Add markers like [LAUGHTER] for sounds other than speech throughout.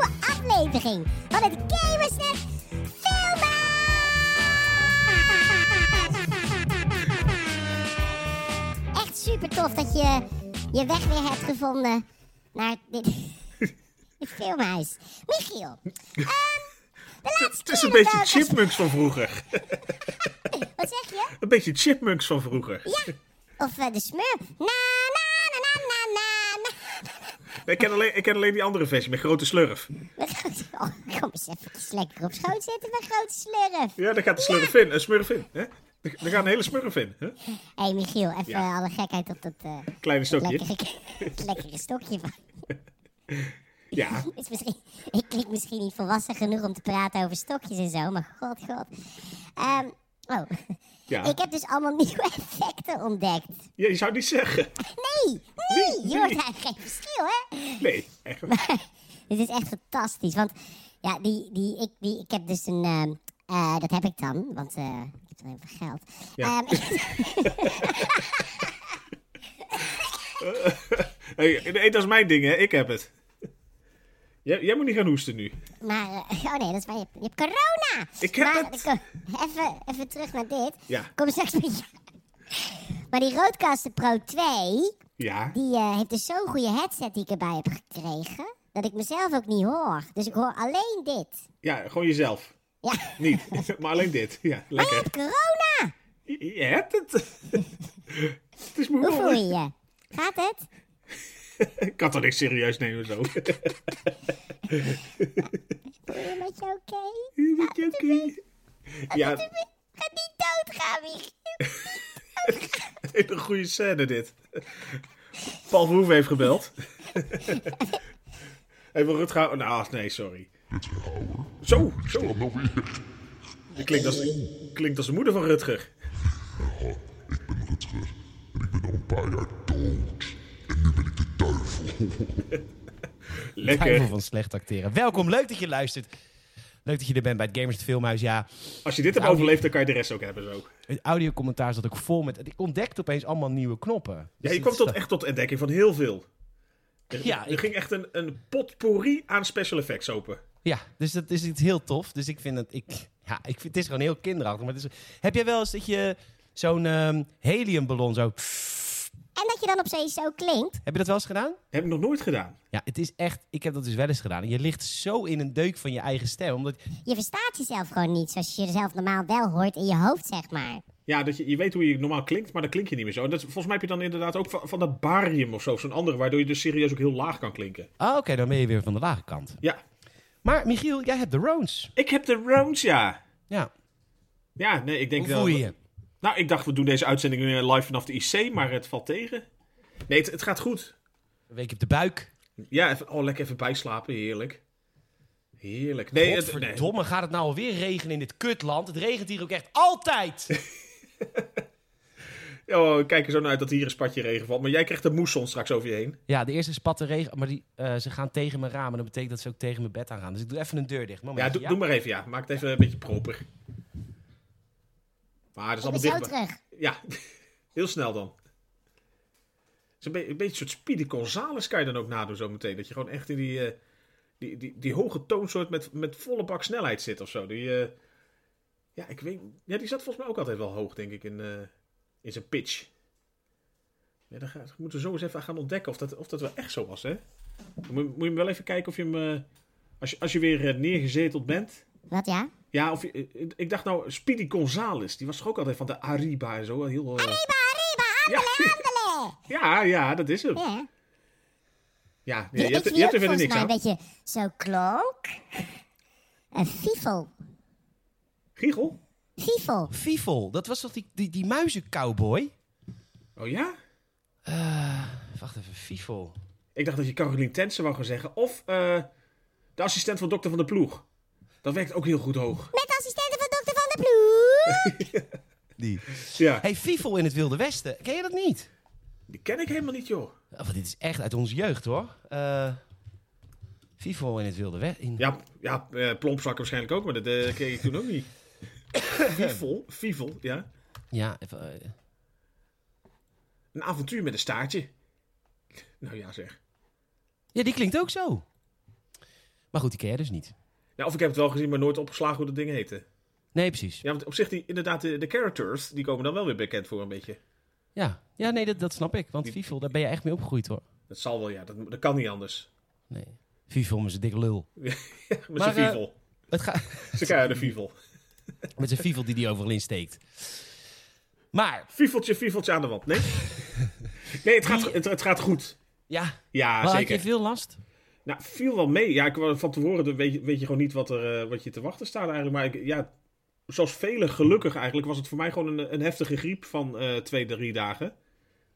[LAUGHS] verkondiging van het Gamersnet Filmhuis. Echt super tof dat je je weg weer hebt gevonden naar [LAUGHS] dit, dit filmhuis. Michiel, ehm, de laatste Het is een keer beetje dat we- chipmunks van vroeger. Wat zeg je? Een beetje chipmunks van vroeger. Ja, of eh, de smurf. Na, na, na, na, na, na, na. Ik ken, alleen, ik ken alleen die andere versie met grote slurf. Met grote... Oh, kom eens even lekker op schoot zitten met grote slurf. Ja, daar gaat de slurf in, een smurf in. Hè? Daar daar gaat een hele smurf in. Hè? Hé hey Michiel, even Ja. eh, alle gekheid op dat, eh, Kleine dat stokje. lekkere, [LAUGHS] het lekkere stokje van. [LAUGHS] Ja, Is misschien, ik klink misschien niet volwassen genoeg om te praten over stokjes en zo, maar god, god. Ehm, oh, ja. ik heb dus allemaal [LAUGHS] nieuwe effecten ontdekt. ja. Je zou niet zeggen. Nee, nee, Nee, je hoort nee. eigenlijk geen verschil, hè? Nee, echt. waar. Dit is echt fantastisch. Want ja, die, die, ik, die, ik heb dus een. ehm, eh, dat heb ik dan, want eh, ik heb alleen veel geld. Ja. Ehm, [LAUGHS] ik- Hey, nee, dat is mijn ding, hè? Ik heb het. Jij, jij moet niet gaan hoesten nu. maar. eh, oh nee, dat is waar. Je hebt, je hebt corona! Ik heb maar, het. ko- even, even terug naar dit. Ja. Kom straks met je. Maar die Roadcaster Pro 2, Ja. die eh, heeft dus zo'n goede headset die ik erbij heb gekregen. Dat ik mezelf ook niet hoor. Dus ik hoor alleen dit. Ja, gewoon jezelf. Ja, Niet, [LAUGHS] maar alleen dit. Ja, maar je lekker. hebt [LAUGHS] corona! Je, je hebt het. [LAUGHS] Het is Hoe voel je moeilijk. [LAUGHS] je? Gaat het? Ik kan toch niks serieus nemen zo. [LAUGHS] Voel je met je oké? Ja, Ga niet doodgaan, Michiel. een goede scène dit. Paul Verhoeven heeft gebeld. Even Rutger... Nou, nee, sorry. Zo, zo. Nou weer. Dat Klinkt als, klinkt als de moeder van Rutger. Ik ben Rutger. En ik ben al een paar jaar dood. En nu ben ik de [LAUGHS] duivel. Lekker. Duivel van slecht acteren. Welkom, leuk dat je luistert. Leuk dat je er bent bij het Gamers het Filmhuis. Ja, Als je dit hebt overleefd, dan kan je de rest ook hebben zo. het audiocommentaar zat ook vol met... Ik ontdekte opeens allemaal nieuwe knoppen. Ja, Dus je het kwam is tot, toch- echt tot ontdekking van heel veel. Er, Ja, er ik- ging echt een, een potpourri aan special effects open. Ja, dus dat is iets heel tof. Dus ik vind het... Ik, ja, ik vind, het is gewoon heel kinderachtig. Maar het is, heb jij wel eens dat je zo'n ehm, heliumballon zo... En dat je dan opeens zo klinkt. Heb je dat wel eens gedaan? heb ik nog nooit gedaan. Ja, het is echt... Ik heb dat dus wel eens gedaan. En je ligt zo in een deuk van je eigen stem. Omdat, Je verstaat jezelf gewoon niet zoals je jezelf normaal wel hoort in je hoofd, zeg maar. Ja, dat je, je weet hoe je normaal klinkt, maar dan klink je niet meer zo. En dat, is- volgens mij heb je dan inderdaad ook van, van dat barium of zo, zo'n andere, waardoor je dus serieus ook heel laag kan klinken. oh, oké, dan ben je weer van de lage kant. Ja, Maar Michiel, jij hebt de Rones. ik heb de rounds, ja. Ja, Ja, nee, ik denk hoe voel je wel- je? Nou, ik dacht, we doen deze uitzending weer live vanaf de IC, maar het valt tegen. Nee, het, het gaat goed. Een week op de buik. Ja, even, oh, lekker even bijslapen, heerlijk. Heerlijk. Nee, het- nee. Godverdomme, gaat Eh, het nou alweer regenen in dit kutland? Het regent hier ook echt altijd. Oh, kijk er zo naar uit dat hier een spatje regen valt. Maar jij krijgt de moesson straks over je heen. [LAUGHS] ja, de eerste spatten regen, maar die, eh, ze gaan tegen mijn raam. En dat betekent dat ze ook tegen mijn bed aan gaan. Dus ik doe even een deur dicht. Moment, Ja, doe, doe maar even, ja. Maak het even een beetje proper. Maar dat is Ik ben allemaal zo dicht. terug. Ja, [LAUGHS] heel snel dan. Het is een, be- een beetje een soort Speedy Gonzales kan je dan ook nadoen zo meteen. Dat je gewoon echt in die, eh, die, die, die hoge toonsoort met, met volle bak snelheid zit of zo. Die, eh, ja, ik weet, ja, die zat volgens mij ook altijd wel hoog, denk ik, in, eh, in zijn pitch. Ja, dan gaan, we moeten we zo eens even gaan ontdekken of dat, of dat wel echt zo was, hè? Dan moet, je- moet je wel even kijken of je hem... eh, als, je, als je weer eh, neergezeteld bent... Wat ja? Ja, of, je- eh, ik dacht nou, Speedy Gonzales. Die was toch ook altijd van de Arriba en zo. Heel, eh, Arriba, arriba, ja, handelen! [LAUGHS] ja, ja, dat is hem. Ja. Ja, Ja, je, hebt, je hebt er verder niks mij aan. een beetje zo klonk. Een fiefel. Giegel? Fiefel. Fiefel, dat was toch die, die, die muizencowboy? Oh ja? Eh, wacht even, Fiefel. Ik dacht dat je Caroline Tensen wou gaan zeggen. Of eh, de assistent van dokter van de ploeg. Dat werkt ook heel goed hoog. Met assistenten van dokter Van der Ploeg. Die. Ja. Hey, Fiefel in het Wilde Westen. Ken je dat niet? Die ken ik helemaal niet, joh. Oh, wat, dit is echt uit onze jeugd, hoor. Eh Fiefel in het Wilde Westen. Ja, ja eh, Plompzak waarschijnlijk ook, maar dat eh, ken ik toen ook niet. Vivel, Vivel, ja. Ja, even, eh, Een avontuur met een staartje. Nou ja, zeg. ja, die klinkt ook zo. Maar goed, die ken jij dus niet. Ja, Nou, of ik heb het wel gezien, maar nooit opgeslagen hoe dat ding heette. Nee, precies. Ja, want op zich, die, inderdaad, de, de characters, die komen dan wel weer bekend voor een beetje. Ja, ja nee, dat, dat snap ik. Want Die- Vivol, daar ben je echt mee opgegroeid hoor. Dat zal wel, ja, dat, dat kan niet anders. Nee. Vivol is een dikke lul. Met zijn Maar, eh, vivel. Het gaat Ze krijgen de vivel. [LAUGHS] met zijn Vivol die die overal insteekt. Maar, Viveltje, viveltje aan de wand. Nee, nee het, gaat, het, het gaat goed. ja, Ja, maar had Ah, zeker. je veel last? Nou, viel wel mee. Ja, ik, wou- van tevoren dan weet je, weet je gewoon niet wat, er, eh, wat je te wachten staat eigenlijk. Maar ik, ja, zoals velen gelukkig eigenlijk, was het voor mij gewoon een, een heftige griep van eh, twee, drie dagen.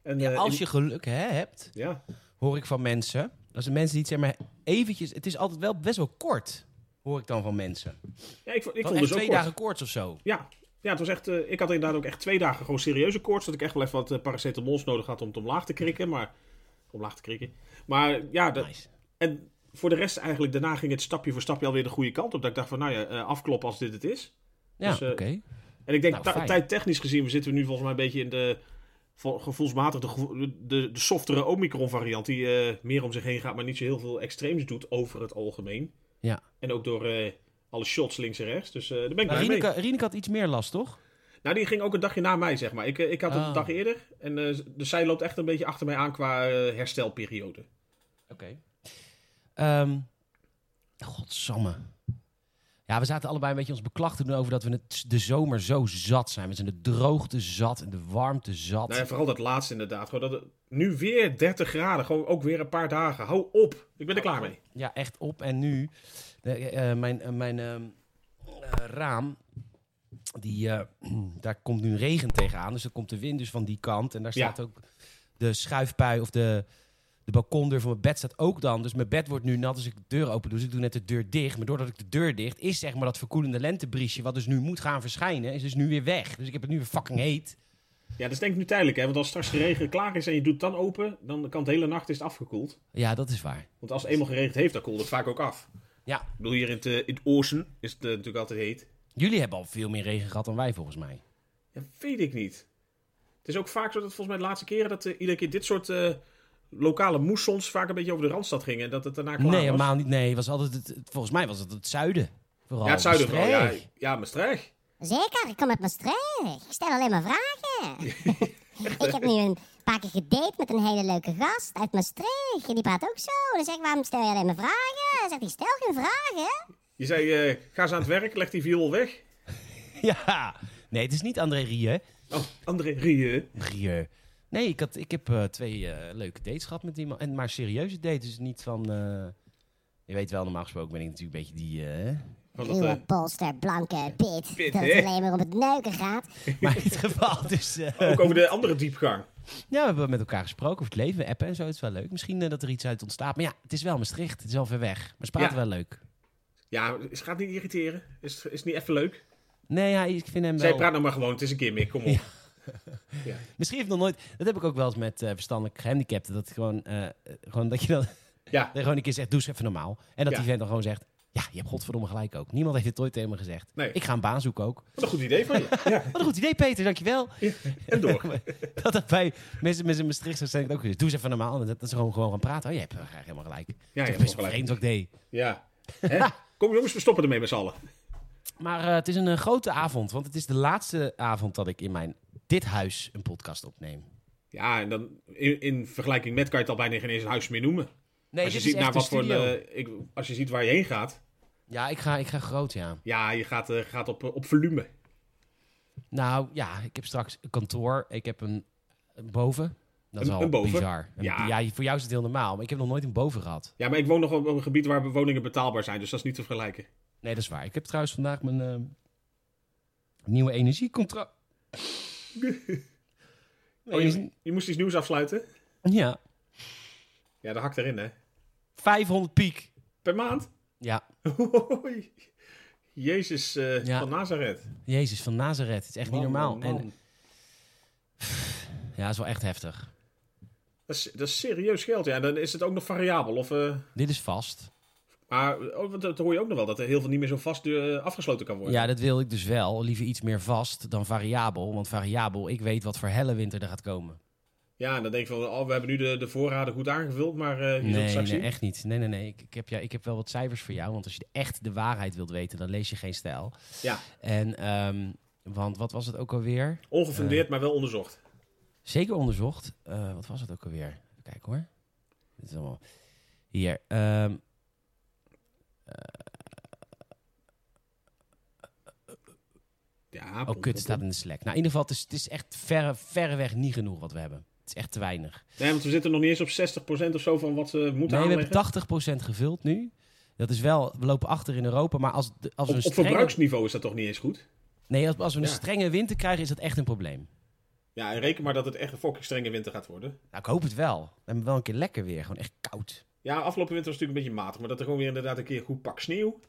En, Ja, eh, als in- je geluk hè, hebt, ja, hoor ik van mensen. Als de mensen die het zeg maar eventjes... Het is altijd wel best wel kort, hoor ik dan van mensen. ja ik, vo- ik Van vond echt het dus ook twee kort. dagen koorts of zo. Ja, ja het was echt, eh, ik had inderdaad ook echt twee dagen gewoon serieuze koorts. Dat ik echt wel even wat eh, paracetamols nodig had om het omlaag te krikken. Maar, omlaag te krikken. Maar ja, dat, Nice. en voor de rest eigenlijk daarna ging het stapje voor stapje alweer de goede kant op. Dat ik dacht van, nou ja, eh, afkloppen als dit het is. Ja, Dus, eh, oké. En ik denk, Nou, tijd fijn. tijdtechnisch gezien, we zitten nu volgens mij een beetje in de vo- gevoelsmatig de, gevo- de, de softere Omicron variant, die eh, meer om zich heen gaat, maar niet zo heel veel extreems doet over het algemeen. Ja. En ook door eh, alle shots links en rechts. Dus eh, daar ben ik Maar blij mee. Rieneke, Rieneke had iets meer last, toch? Nou, die ging ook een dagje na mij, zeg maar. Ik, eh, ik had het Ah. een dag eerder. En eh, dus zij loopt echt een beetje achter mij aan qua eh, herstelperiode. Oké. Ehm godsamme. Ja, we zaten allebei een beetje ons beklag te doen over dat we het, de zomer zo zat zijn. We zijn de droogte zat en de warmte zat. Nou ja, vooral dat laatste inderdaad. Gewoon dat, het- nu weer 30 graden. Gewoon ook weer een paar dagen. Hou op. Ik ben er klaar mee. Ja, echt op en nu. Eh, eh, mijn eh, mijn ehm, eh, raam, die, eh, [CLEARS THROAT] daar komt nu regen tegenaan. Dus er komt de wind dus van die kant. En daar staat ook de schuifpui of de, de balkondeur van mijn bed staat ook dan. Dus mijn bed wordt nu nat als ik de deur open doe. Dus ik doe net de deur dicht. Maar doordat ik de deur dicht, is zeg maar dat verkoelende lentebriesje... wat dus nu moet gaan verschijnen, is dus nu weer weg. Dus ik heb het nu weer fucking heet. Ja, dat is denk ik nu tijdelijk, hè? Want als straks de regen klaar is en je doet het dan open, dan kan het hele nacht is het afgekoeld. Ja, dat is waar. Want als het eenmaal geregend heeft, dan koelt het vaak ook af. Ja, Ik bedoel, hier in het, eh, in het oosten is het eh, natuurlijk altijd heet. jullie hebben al veel meer regen gehad dan wij volgens mij. Ja, weet ik niet. Het is ook vaak zo dat volgens mij de laatste keren dat eh, iedere keer dit soort eh, lokale moessons vaak een beetje over de randstad gingen. En dat het daarna klaar Nee, was. helemaal niet. Nee, het was altijd het, het- volgens mij was het het zuiden. Vooral Ja, het zuiden vooral. Ja, Maastricht. ja Maastricht. Zeker, ik kom uit Maastricht. Ik stel alleen maar [LAUGHS] vragen. ik heb nu een paar keer gedate met een hele leuke gast uit Maastricht. En die praat ook zo. Dan zeg ik, waarom stel je alleen maar vragen? Dan zegt hij, stel geen vragen. Je zei, eh, ga ze aan het werk, leg die viool weg. [LAUGHS] Ja. Nee, het is niet André Rieu. Oh, André Rieu. Rieu. Nee, ik, had, ik heb eh, twee eh, leuke dates gehad met iemand. En maar serieuze dates, dus niet van... eh, je weet wel, normaal gesproken ben ik natuurlijk een beetje die... eh, [LAUGHS] Van dat, eh, Ruwe polster, blanke pit. Pit, dat hè? het alleen maar om het neuken gaat. maar in dit geval dus... eh, ook over de andere diepgang. ja, we hebben met elkaar gesproken over het leven, we appen en zo. Het is wel leuk. Misschien eh, dat er iets uit ontstaat. Maar ja, het is wel Maastricht. Het is wel ver weg. Maar ze praten Ja. wel leuk. Ja, het gaat niet irriteren. Is, is niet even leuk. Nee, ja, ik vind hem Zij wel... praat nou maar gewoon, het is een keer meer, kom op. Misschien heeft nog nooit. Dat heb ik ook wel eens met eh verstandelijk gehandicapten. Dat gewoon, eh, gewoon dat je dan Ja. dat je gewoon een keer zegt, doe eens even normaal. En dat Ja. die vent dan gewoon zegt. Ja, je hebt godverdomme gelijk ook. Niemand heeft dit ooit tegen me gezegd. Nee. Ik ga een baan zoeken ook. Wat een goed idee van je. Wat een goed idee, Peter. Dankjewel. En door. dat dat bij mensen met zijn Maastrichtse zijn ook gezegd. Doe eens even normaal. En dat, dat ze gewoon, gewoon gaan praten. Oh, je hebt eh, helemaal gelijk. je Ja, hebt is wel best wel gelijk. vreemd wat ik deed. Ja. Hè? Kom jongens, we stoppen ermee met z'n allen. Maar eh, het is een eh, grote avond. Want het is de laatste avond dat ik in mijn dit huis een podcast opneem. Ja, en dan in, in vergelijking met kan je het al bijna geen eens een huis meer noemen. Nee, als, je dit ziet is echt naar een wat voor, studio. eh, ik, als je ziet waar je heen gaat, Ja, ik ga, ik ga groot, ja. ja, je gaat, eh, gaat op, eh, op volume. Nou ja, ik heb straks een kantoor. Ik heb een, een boven. Dat is Een- al een boven? bizar. Een- Ja. ja, voor jou is het heel normaal. Maar ik heb nog nooit een boven gehad. Ja, maar ik woon nog op een gebied waar woningen betaalbaar zijn, dus dat is niet te vergelijken. Nee, dat is waar. Ik heb trouwens vandaag mijn eh, nieuwe energiecontract. Oh, je, Energie- je moest iets nieuws afsluiten? Ja, Ja, dat hakt erin, hè. 500 piek. Per maand? [LAUGHS] Ja, Hoi. Jezus eh, Ja. van Nazareth. Jezus van Nazareth. Het is echt niet Man, normaal. man, man. En, ja, het is wel echt heftig. Dat, is, dat is serieus geld, ja. En dan is het ook nog variabel. Of, eh, Dit is vast. maar oh, want dat hoor je ook nog wel, dat er heel veel niet meer zo vast eh, afgesloten kan worden. Ja, dat wil ik dus wel. Liever iets meer vast dan variabel. Want variabel, ik weet wat voor helle winter er gaat komen. Ja, en dan denk je van, oh, we hebben nu de, de voorraden goed aangevuld, maar eh je zult het Nee, straks nee, zien. echt niet. Nee, nee, nee. Ik, ik, heb, ja, ik heb wel wat cijfers voor jou. Want als je echt de waarheid wilt weten, dan lees je geen stijl. Ja. En, ehm, want wat was het ook alweer? eh, Ongefundeerd, maar wel onderzocht. Zeker onderzocht. Eh, wat was het ook alweer? Even kijken hoor. Dit is allemaal... Hier. ehm. Ja, oh, kut, het staat in de Slack. Nou, in ieder geval, het is, het is echt verre, verreweg niet genoeg wat we hebben. Het is echt te weinig. Nee, want we zitten nog niet eens op 60% of zo van wat ze moeten nee, we aanleggen. hebben 80% gevuld nu. Dat is wel, we lopen achter in Europa, maar als, de- als we Op, een op strenge... verbruiksniveau is dat toch niet eens goed? Nee, als, als we een Ja. strenge winter krijgen, is dat echt een probleem. Ja, en reken maar dat het echt een fucking strenge winter gaat worden. Nou, ik hoop het wel. We hebben wel een keer lekker weer. Gewoon echt koud. Ja, afgelopen winter was het natuurlijk een beetje matig, maar dat er gewoon weer inderdaad een keer een goed pak sneeuw.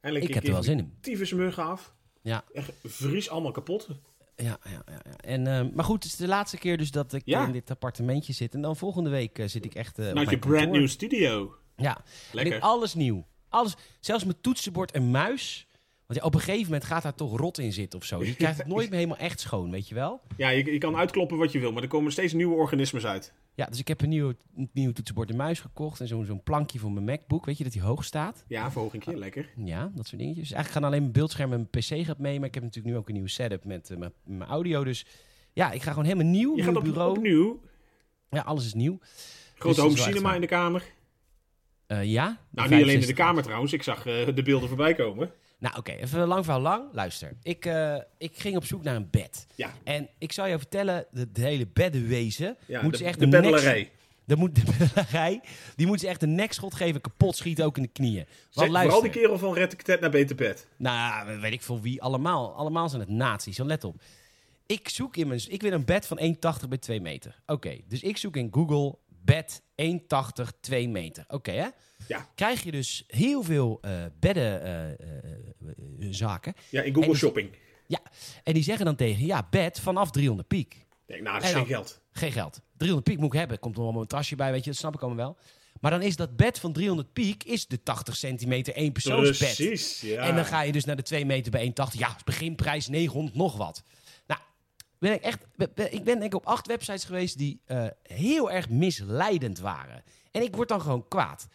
Eindelijk Ik een heb er wel zin in. tyfusmuggen af. Ja, Echt vries allemaal kapot. ja, ja. ja, ja. En, eh, maar goed, het is de laatste keer dus dat ik Ja. in dit appartementje zit. En dan volgende week eh, zit ik echt eh op Vanuit je mijn brand kantoor. new studio. Ja, Lekker. En ik- alles nieuw. Alles, zelfs mijn toetsenbord en muis. Want ja, op een gegeven moment gaat daar toch rot in zitten of [LAUGHS] zo. Je krijgt het nooit meer helemaal echt schoon, weet je wel? Ja, je, je kan uitkloppen wat je wil, maar er komen steeds nieuwe organismes uit. Ja, dus ik heb een nieuw, een nieuw toetsenbord en muis gekocht. En zo'n zo'n plankje voor mijn MacBook, weet je, dat die hoog staat. Ja, verhoging keer, lekker. Ja, dat soort dingetjes. Dus eigenlijk gaan alleen mijn beeldscherm en mijn PC gaat mee. Maar ik heb natuurlijk nu ook een nieuwe setup met eh, mijn, mijn audio. Dus ja, ik ga gewoon helemaal nieuw. Je nieuw gaat op, bureau. opnieuw. Ja, alles is nieuw. Grote dat is home wel echt cinema waar. in de kamer. Eh, ja. Nou, niet alleen in de 65. kamer trouwens. Ik zag eh, de beelden voorbij komen. Nou, oké. even een lang verhaal lang. Luister. Ik, eh, ik ging op zoek naar een bed. Ja, En ik zal je vertellen, de, de hele beddenwezen... ja moeten de, ze echt de een nek- beddelarij. Dat moet de beddelarij, die moeten ze echt een nekschot geven, kapot schieten, ook in de knieën. Zeg, Want vooral die luister, kerel van Red Tet naar Beter Bed. nou, weet ik veel wie, allemaal. Allemaal zijn het nazi's, dan let op. Ik zoek in mijn... Ik wil een bed van 1,80 bij 2 meter. Oké, dus ik zoek in Google bed 1,80, 2 meter. Oké, hè? Ja. Krijg je dus heel veel eh beddenzaken. Ja, in Google En- Shopping. Ik ja, en die zeggen dan tegen, ja, bed vanaf 300 piek. denk, nou, dat is En geen dan- geld. Geen geld. 300 piek moet ik hebben. Komt er allemaal een tasje bij, weet je. Dat snap ik allemaal wel. Maar dan is dat bed van 300 piek is de 80 centimeter één persoonsbed. Precies, ja. En dan ga je dus naar de 2 meter bij 1,80. Ja, beginprijs 900 nog wat. Nou, ben ik, echt, ben- ben- ik ben denk ik op acht websites geweest die eh, heel erg misleidend waren. En ik word dan gewoon kwaad.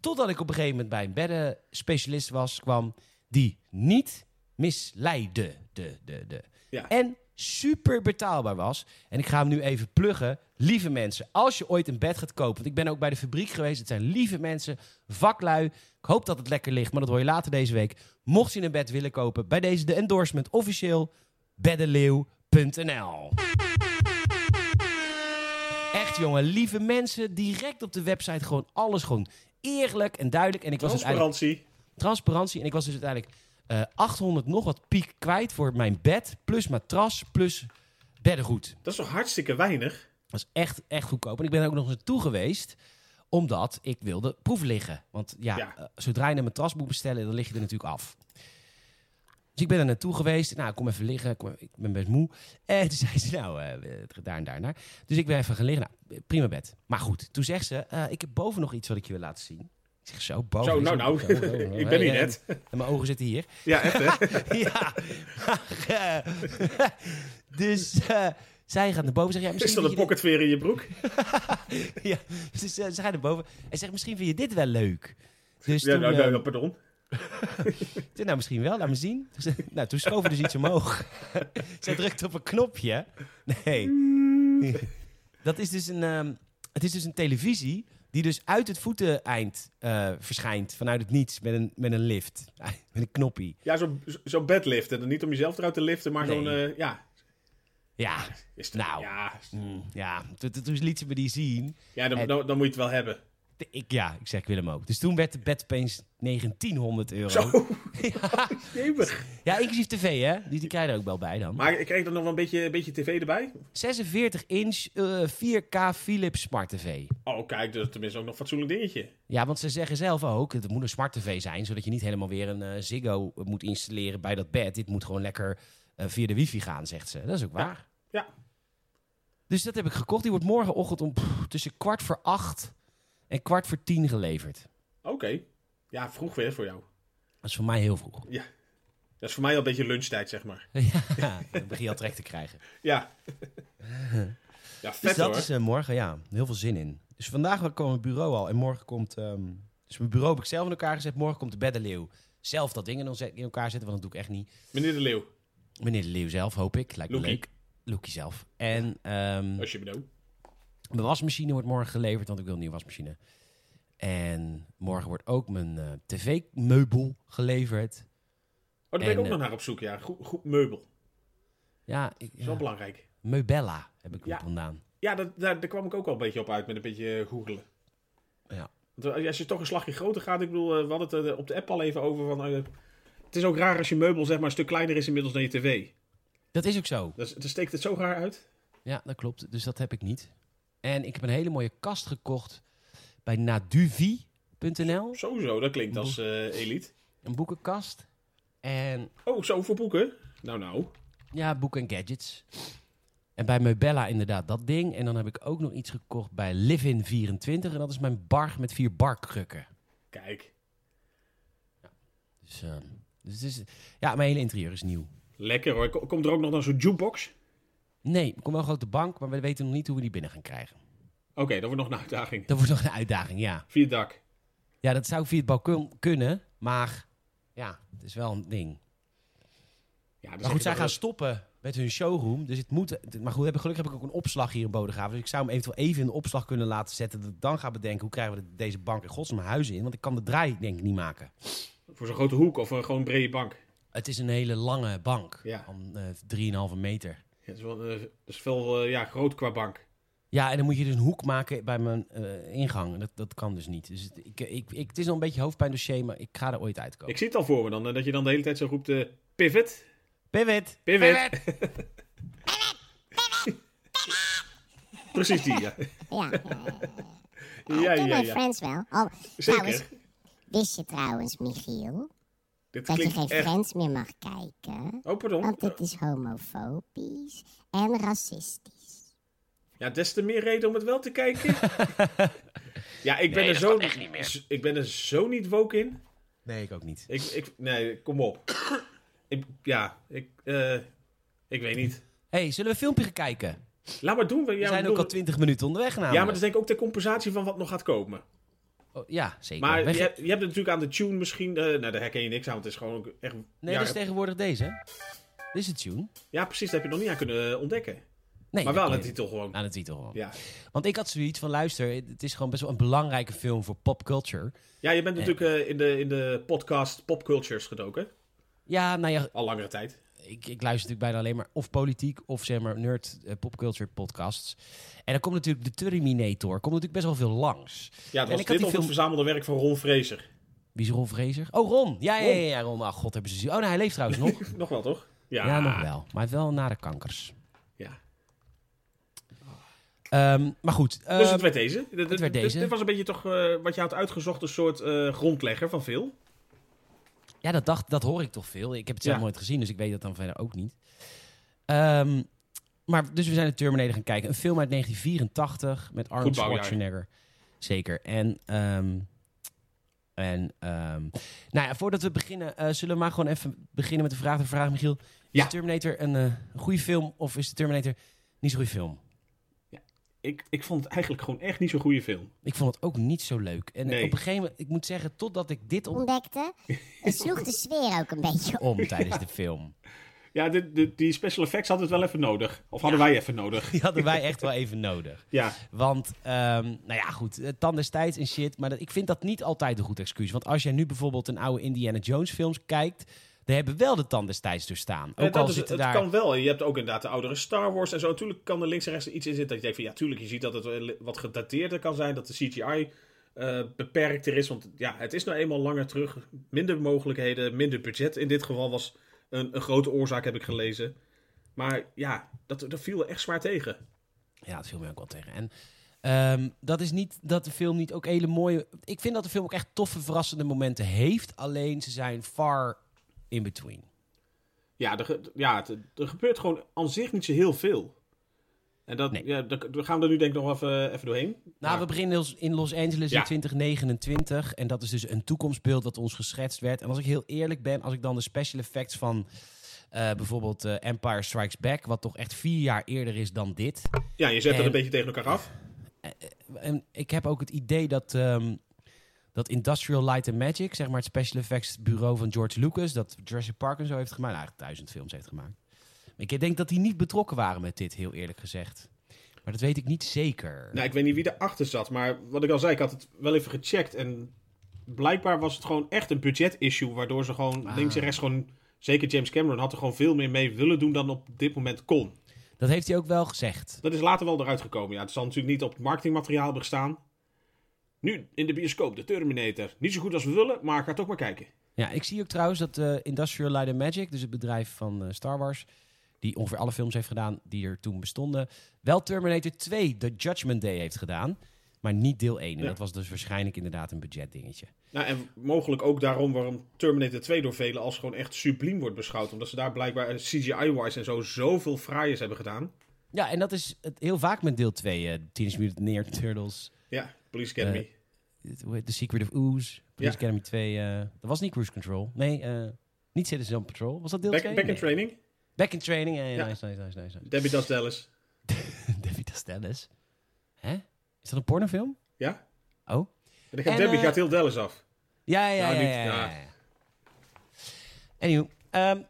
Totdat ik op een gegeven moment bij een beddenspecialist was, kwam die niet misleidde. De, de, de. Ja. En super betaalbaar was. En ik ga hem nu even pluggen. Lieve mensen, als je ooit een bed gaat kopen. Want ik ben ook bij de fabriek geweest. Het zijn lieve mensen, vaklui. Ik hoop dat het lekker ligt, maar dat hoor je later deze week. Mocht je een bed willen kopen, bij deze de endorsement officieel beddenleeuw.nl. Echt jongen, lieve mensen, direct op de website gewoon alles gewoon eerlijk en duidelijk. En ik was dus uiteindelijk Transparantie. transparantie. En ik was dus uiteindelijk eh, 800 nog wat piek kwijt voor mijn bed, plus matras, plus beddengoed. Dat is toch hartstikke weinig? Dat is echt, echt goedkoop. En ik ben er ook nog eens naartoe geweest, omdat ik wilde proef liggen. Want ja, Ja. eh, zodra je een matras moet bestellen, dan lig je er natuurlijk af. Dus ik ben er naartoe geweest. Nou, kom even liggen. Kom, ik ben best moe. En toen [LAUGHS] zei ze, nou, eh, het gaat daar en daar en daar. Dus ik ben even gaan liggen. Nou, prima bed. Maar goed, toen zegt ze, eh, ik heb boven nog iets wat ik je wil laten zien. Ik zeg, zo, boven. Zo, is Oh, nou, er- nou. zo, zo, zo. [LAUGHS] Ik ben hier En- net. En [LAUGHS] mijn ogen zitten hier [LAUGHS] Ja, echt hè? [LAUGHS] ja. Maar, eh, [LAUGHS] dus eh, zij gaat naar boven. Zeg, ja, Is misschien dat een vind je pocketveer in je broek? dit- ja, dus eh, ze gaat naar boven en zegt, misschien vind je dit wel leuk. Dus Ja, toen, nou, eh, nou, pardon. ik zei, nou, misschien wel, laat me zien. [LAUGHS] Toen zei- nou, toen schoof er dus iets omhoog. [LAUGHS] Zij drukt op een knopje. Nee. [LAUGHS] Dat is dus een, ehm, het is dus een televisie die dus uit het voeteneind eh, verschijnt. Vanuit het niets, met een, met een lift. [LAUGHS] Met een knoppie. Ja, zo'n zo zo'n bedlift. En dan niet om jezelf eruit te liften, maar Nee. zo'n... eh, ja. Ja, Is het- Nou. Ja, is- mm, ja. Toen, toen toen liet ze me die zien. ja dan, En- dan, dan moet je het wel hebben. Ik, ja, ik zeg, ik wil hem ook. Dus toen werd de bed opeens 1900 euro. Zo. Jemig. Ja, inclusief tv, hè? Die, die krijg je er ook wel bij dan. Maar ik kreeg er nog wel een beetje, een beetje tv erbij. 46 inch eh, 4K Philips Smart TV. Oh, kijk, dat is tenminste ook nog een fatsoenlijk dingetje. Ja, want ze zeggen zelf ook, het moet een Smart TV zijn... zodat je niet helemaal weer een eh, Ziggo moet installeren bij dat bed. Dit moet gewoon lekker eh, via de wifi gaan, zegt ze. Dat is ook waar. Ja. Dus dat heb ik gekocht. Die wordt morgenochtend om pff, tussen kwart voor acht en kwart voor tien geleverd. Oké. Ja, vroeg weer voor jou. Dat is voor mij heel vroeg. Dat is voor mij al een [LAUGHS] beetje lunchtijd, zeg maar. Ja, dan begin je al trek te krijgen. Ja. Ja, vet Dus dat hoor. is eh, morgen, ja. Heel veel zin in. Dus vandaag kwam het bureau al. En morgen komt... ehm, dus mijn bureau heb ik zelf in elkaar gezet. Morgen komt de beddenleeuw. Zelf dat ding in onze- in elkaar zetten, want dat doe ik echt niet. Meneer de Leeuw, Meneer de Leeuw zelf, hoop ik. Lijkt me Loekie. leuk. Loekie zelf. En ehm, als je Oh, bedoelt. mijn wasmachine wordt morgen geleverd, want ik wil een nieuwe wasmachine. En morgen wordt ook mijn eh, tv-meubel geleverd. Oh, daar ben ik En, ook eh, nog naar op zoek, ja. Goed, goed meubel. Dat Ja, ik, is wel ja, belangrijk. Meubella heb ik Ja. op vandaan. Ja, dat, daar, daar kwam ik ook al een beetje op uit met een beetje eh, googelen. Ja. Want eh, als je toch een slagje groter gaat, ik bedoel, eh, we hadden het eh, op de app al even over. Van, eh, het is ook raar als je meubel zeg maar een stuk kleiner is inmiddels dan je tv. Dat is ook zo. Dat, is- dan steekt het zo raar uit. Ja, dat klopt. Dus dat heb ik niet. En ik heb een hele mooie kast gekocht bij naduvi.nl. Sowieso, dat klinkt als eh, elite. Een boekenkast. En Oh, zo voor boeken? Nou, nou. Ja, boeken en gadgets. En bij Meubella inderdaad dat ding. En dan heb ik ook nog iets gekocht bij Livin24. En dat is mijn bar met vier barkrukken. Kijk, Dus, eh, dus het is, ja, mijn hele interieur is nieuw. lekker hoor. Ko- Komt er ook nog dan zo'n jukebox? Nee, er komt wel een grote bank, maar we weten nog niet hoe we die binnen gaan krijgen. Oké, dat wordt nog een uitdaging. Dat wordt nog een uitdaging, ja. Via het dak. Ja, dat zou via het balkon kunnen, maar ja, het is wel een ding. Ja, Maar goed, zij gaan stoppen met hun showroom. Dus het moet. Maar goed, heb ik- gelukkig heb ik ook een opslag hier in Bodegraven. Dus ik zou hem eventueel even in de opslag kunnen laten zetten. Dat ik dan ga bedenken hoe krijgen we de- deze bank in godsnaam huis in. Want ik kan de draai denk ik niet maken. Voor zo'n grote hoek of een gewoon brede bank. Het is een hele lange bank Ja. van eh 3,5 meter. Ja, dat, is wel, eh, dat is veel eh, ja, groot qua bank. Ja, en dan moet je dus een hoek maken bij mijn eh, ingang. Dat, dat kan dus niet. Dus het, ik, ik, ik, het is nog een beetje hoofdpijn dossier, maar ik ga er ooit uitkomen. Ik zie het al voor me dan, eh, dat je dan de hele tijd zo roept... eh, pivot, Pivot! pivot. Precies die, ja. Ja, ja, ja. Ja, ken ja, mijn ja. friends wel. Oh, trouwens, Zeker. wist je trouwens, Michiel, Dit dat je geen klinkt echt... friends meer mag kijken? Oh, pardon. Want eh, dit is homofobisch en racistisch. Ja, des te meer reden om het wel te kijken. ja, ik ben, er zo, z- ik ben er zo niet woke in. Nee, ik ook niet. Ik, ik, nee, kom op. ik, ja, ik, eh, ik weet niet. hey, zullen we een filmpje gaan kijken? Laat maar doen. We We zijn ook al 20 minuten onderweg namelijk. Ja, maar dat is denk ik ook ter compensatie van wat nog gaat komen. Oh, ja, zeker. Maar Weg- je, hebt- je hebt natuurlijk aan de tune misschien... eh, nou, daar herken je niks aan, want het is gewoon ook echt... Nee, ja, dat is tegenwoordig deze. hè? Dit is het tune. ja, precies, daar heb je nog niet aan kunnen eh, ontdekken. Nee, Maar wel aan de het titel gewoon. Aan de titel gewoon. Ja, Want ik had zoiets van, luister, het is gewoon best wel een belangrijke film voor popculture. ja je bent natuurlijk eh, in, de, in de podcast Pop Cultures gedoken. Ja, nou ja, Al langere tijd. ik, ik luister natuurlijk bijna alleen maar of politiek of zeg maar nerd eh, popculture podcasts. En dan komt natuurlijk de Terminator, komt natuurlijk best wel veel langs. Ja, dat En was dit ik had die of het film- verzamelde werk van Ron Fraser. [LAUGHS] Wie is Ron Fraser? Oh, Ron! Ja, ja, ja, ja Ron. Ach, god, hebben ze zien. Oh, nee, hij leeft [LAUGHS] trouwens nog. Nog wel, toch? Ja, Ja, nog wel. Maar hij heeft wel nare kankers. Ja. Ehm, maar goed. Dus ehm, het werd deze. Dit- dit- werd dit- deze. Dit was een beetje toch eh, wat je had uitgezocht, een soort eh, grondlegger van veel. Ja, dat, dacht, dat hoor ik toch veel. Ik heb het zelf Ja. nooit gezien, dus ik weet dat dan verder ook niet. Ehm, maar dus we zijn de Terminator gaan kijken. Een film uit 1984 met Arnold Goed bouwjaar. Schwarzenegger. Zeker. En, ehm, en ehm, nou ja, voordat we beginnen, eh, zullen we maar gewoon even beginnen met de vraag. De vraag, Michiel. Is Ja. de Terminator een eh, goede film of is de Terminator niet zo'n goede film? Ik, ik vond het eigenlijk gewoon echt niet zo'n goede film. Ik vond het ook niet zo leuk. En Nee. op een gegeven moment, ik moet zeggen, totdat ik dit [LAUGHS] om, Ontdekte, het sloeg de sfeer ook een beetje op. om tijdens de [LAUGHS] film. Ja, dit- dit- die special effects hadden het wel even nodig. Of hadden wij even nodig. Die hadden wij echt wel even nodig. Ja, Want, ehm, nou ja, goed, eh, tand destijds en shit. Maar dat, ik vind dat niet altijd een goed excuus. Want als jij nu bijvoorbeeld een oude Indiana Jones films kijkt... dan hebben wel de tand destijds dus staan. Eh, Ook dat al is, het zitten daar... kan wel. En Je hebt ook inderdaad de oudere Star Wars en zo. Natuurlijk kan er links en rechts iets in zitten dat je denkt van... Ja, tuurlijk, je ziet dat het wel wat gedateerder kan zijn. Dat de CGI eh, beperkter is. Want ja, het is nou eenmaal langer terug. Minder mogelijkheden, minder budget. In dit geval was een, een grote oorzaak, heb ik gelezen. Maar ja, dat, dat viel echt zwaar tegen. Ja, dat viel mij ook wel tegen. En ehm, dat is niet dat de film niet ook hele mooie... Ik vind dat de film ook echt toffe, verrassende momenten heeft. Alleen ze zijn far in between. Ja, er, ge- ja het- er gebeurt gewoon aan zich niet zo heel veel. En dat, Nee. ja, daar daar gaan we er nu denk ik nog even, even doorheen. Nou, Maar- we beginnen in Los- in Los Angeles Ja. in 2029. En dat is dus een toekomsbeeld dat ons geschetst werd. En als ik heel eerlijk ben, als ik dan de special effects van Eh, bijvoorbeeld eh, Empire Strikes Back, wat toch echt vier jaar eerder is dan dit. Ja, je zet dat En- een beetje tegen elkaar af. En ik heb ook het idee dat, ehm, dat Industrial Light and Magic, zeg maar het special effects bureau van George Lucas, dat Jurassic Park en zo heeft gemaakt, nou, eigenlijk duizend films heeft gemaakt. Maar ik denk dat die niet betrokken waren met dit, heel eerlijk gezegd. Maar dat weet ik niet zeker. Nou, ik weet niet wie erachter zat, maar wat ik al zei, ik had het wel even gecheckt. En blijkbaar was het gewoon echt een budget-issue, waardoor ze gewoon Ah. links en rechts gewoon... Zeker James Cameron had er gewoon veel meer mee willen doen dan op dit moment kon. Dat heeft hij ook wel gezegd. Dat is later wel eruit gekomen. Ja, het zal natuurlijk niet op het marketingmateriaal hebben gestaan. Nu in de bioscoop, de Terminator. Niet zo goed als we willen, maar ga toch maar kijken. Ja, ik zie ook trouwens dat eh, Industrial Light and Magic, dus het bedrijf van eh, Star Wars, die ongeveer alle films heeft gedaan die er toen bestonden, wel Terminator 2, The Judgment Day heeft gedaan, maar niet deel 1. En Ja. dat was dus waarschijnlijk inderdaad een budgetdingetje. Nou, en mogelijk ook daarom waarom Terminator 2 door velen als gewoon echt subliem wordt beschouwd. Omdat ze daar blijkbaar eh, CGI-wise en zo zoveel fraaiers hebben gedaan. Ja, en dat is het heel vaak met deel 2. eh Teenage Mutant Ninja Turtles, Ja, Police Academy. Eh, het- hoe heet- The Secret of Ooze, Police Ja. Academy 2. eh, dat was niet Cruise Control. Nee, eh, niet Citizen on Patrol. Was dat deel back, 2? back in Training. Back in Training. eh, Ja. Nice, nice, nice, nice. nice. [LAUGHS] Debbie Does Dallas. David Castellis. Hè? Is dat een pornofilm? Ja? Oh. En dan gaat En, Debbie eh, gaat heel Dallas af. Ja, ja, Nou, ja. ja, niet- ja, ja, ja. ja. Anywho, ehm,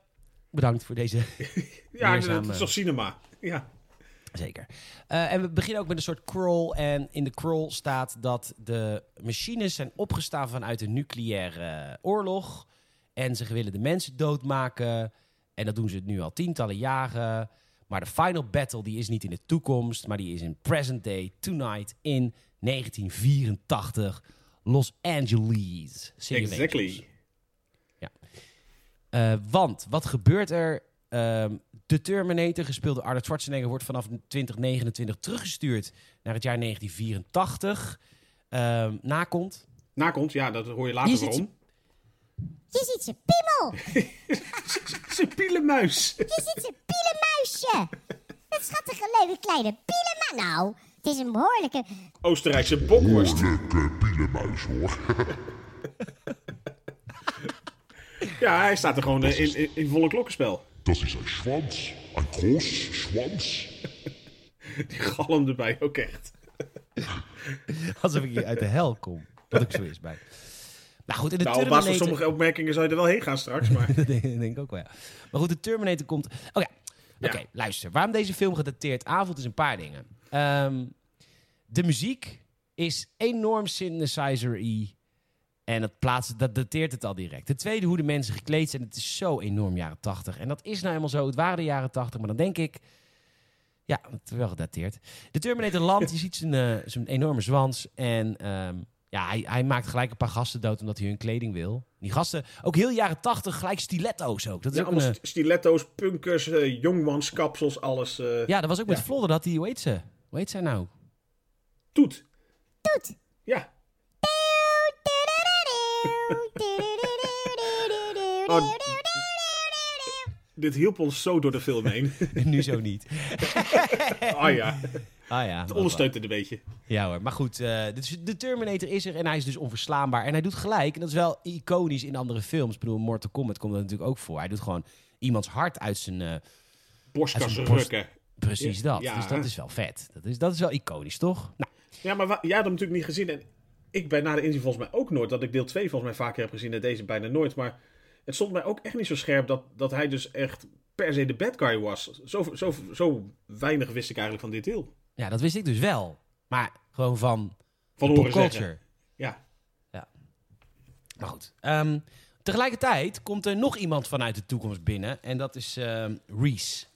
bedankt voor deze. [LAUGHS] Ja, leerzaam, dat is eh. toch cinema. Ja. Zeker. Eh, en we beginnen ook met een soort crawl. En in de crawl staat dat de machines zijn opgestaan vanuit een nucleaire eh, oorlog. En ze willen de mensen doodmaken. En dat doen ze nu al tientallen jaren. Maar de final battle die is niet in de toekomst, maar die is in present day, tonight, in 1984, Los Angeles. City of Angels. Exactly. Eh, want wat gebeurt er? Ehm, de Terminator, gespeeld door Arnold Schwarzenegger, wordt vanaf 2029 teruggestuurd naar het jaar 1984. Ehm, nakomt. Nakomt, ja, dat hoor je Hier later zit waarom. Je ziet zijn piemel. [LAUGHS] Ze pielenmuis. Je ziet zijn pielenmuisje. Dat schattige, leuke kleine pielenma. Nou, het is een behoorlijke... Oostenrijkse bokworst. Lekker eh, pielenmuis hoor. [LAUGHS] Ja, hij staat er gewoon eh, in, in, in volle klokkenspel. Dat is een schwans. Een groß schwans. Die galm erbij ook echt. [LAUGHS] Alsof ik hier uit de hel kom. Dat ik zo is bij. Nou goed, in de Nou, op basis van Terminator... sommige opmerkingen zou je er wel heen gaan straks, maar... [LAUGHS] Dat denk, dat denk ik ook wel, ja. Maar goed, de Terminator komt... Oké, oké, Ja. luister. Waarom deze film gedateerd avond is een paar dingen. Ehm, de muziek is enorm synthesizer-y. En dat, plaatst, dat dateert het al direct. Ten tweede, hoe de mensen gekleed zijn. Het is zo enorm jaren tachtig. En dat is nou helemaal zo. Het waren de jaren tachtig, maar dan denk ik... Ja, het is wel gedateerd. De Terminator landt, je ziet zijn, eh, zijn enorme zwans. En ehm, ja, hij, hij maakt gelijk een paar gasten dood omdat hij hun kleding wil. Die gasten, ook heel jaren tachtig, gelijk stiletto's ook. Dat is Ja, ook een, allemaal eh, st- stiletto's, punkers, eh, jongmanskapsels, alles. eh, ja, dat was ook met Vlodder dat hij, hoe heet ze? Hoe heet zij nou? [LAUGHS] Toet. Toet. Ja. Oh. Dit hielp ons zo door de film [LAUGHS] heen. nu zo niet. Ah ja, Ah ja. het ondersteunt het een beetje. Ja hoor, maar goed. eh, dus de Terminator is er en hij is dus onverslaanbaar. En hij doet gelijk, en dat is wel iconisch in andere films. Ik bedoel, in Mortal Kombat komt dat natuurlijk ook voor. Hij doet gewoon iemands hart uit zijn... eh, Borstkassen Hij is een borst- rukken. precies Ja, dat. ja. Dus dat is wel vet. Dat is, dat is wel iconisch, toch? Nou, Ja, maar wa- jij had hem natuurlijk niet gezien. En ik ben na de inzien volgens mij ook nooit. Dat ik deel 2 volgens mij vaker heb gezien en deze bijna nooit. Maar het stond mij ook echt niet zo scherp dat, dat hij dus echt per se de bad guy was. Zo, zo, zo weinig wist ik eigenlijk van dit deel. ja, dat wist ik dus wel. Maar gewoon van, Van de horen popculture. zeggen. Ja. Maar goed. ehm, tegelijkertijd komt er nog iemand vanuit de toekomst binnen. En dat is ehm, Reese.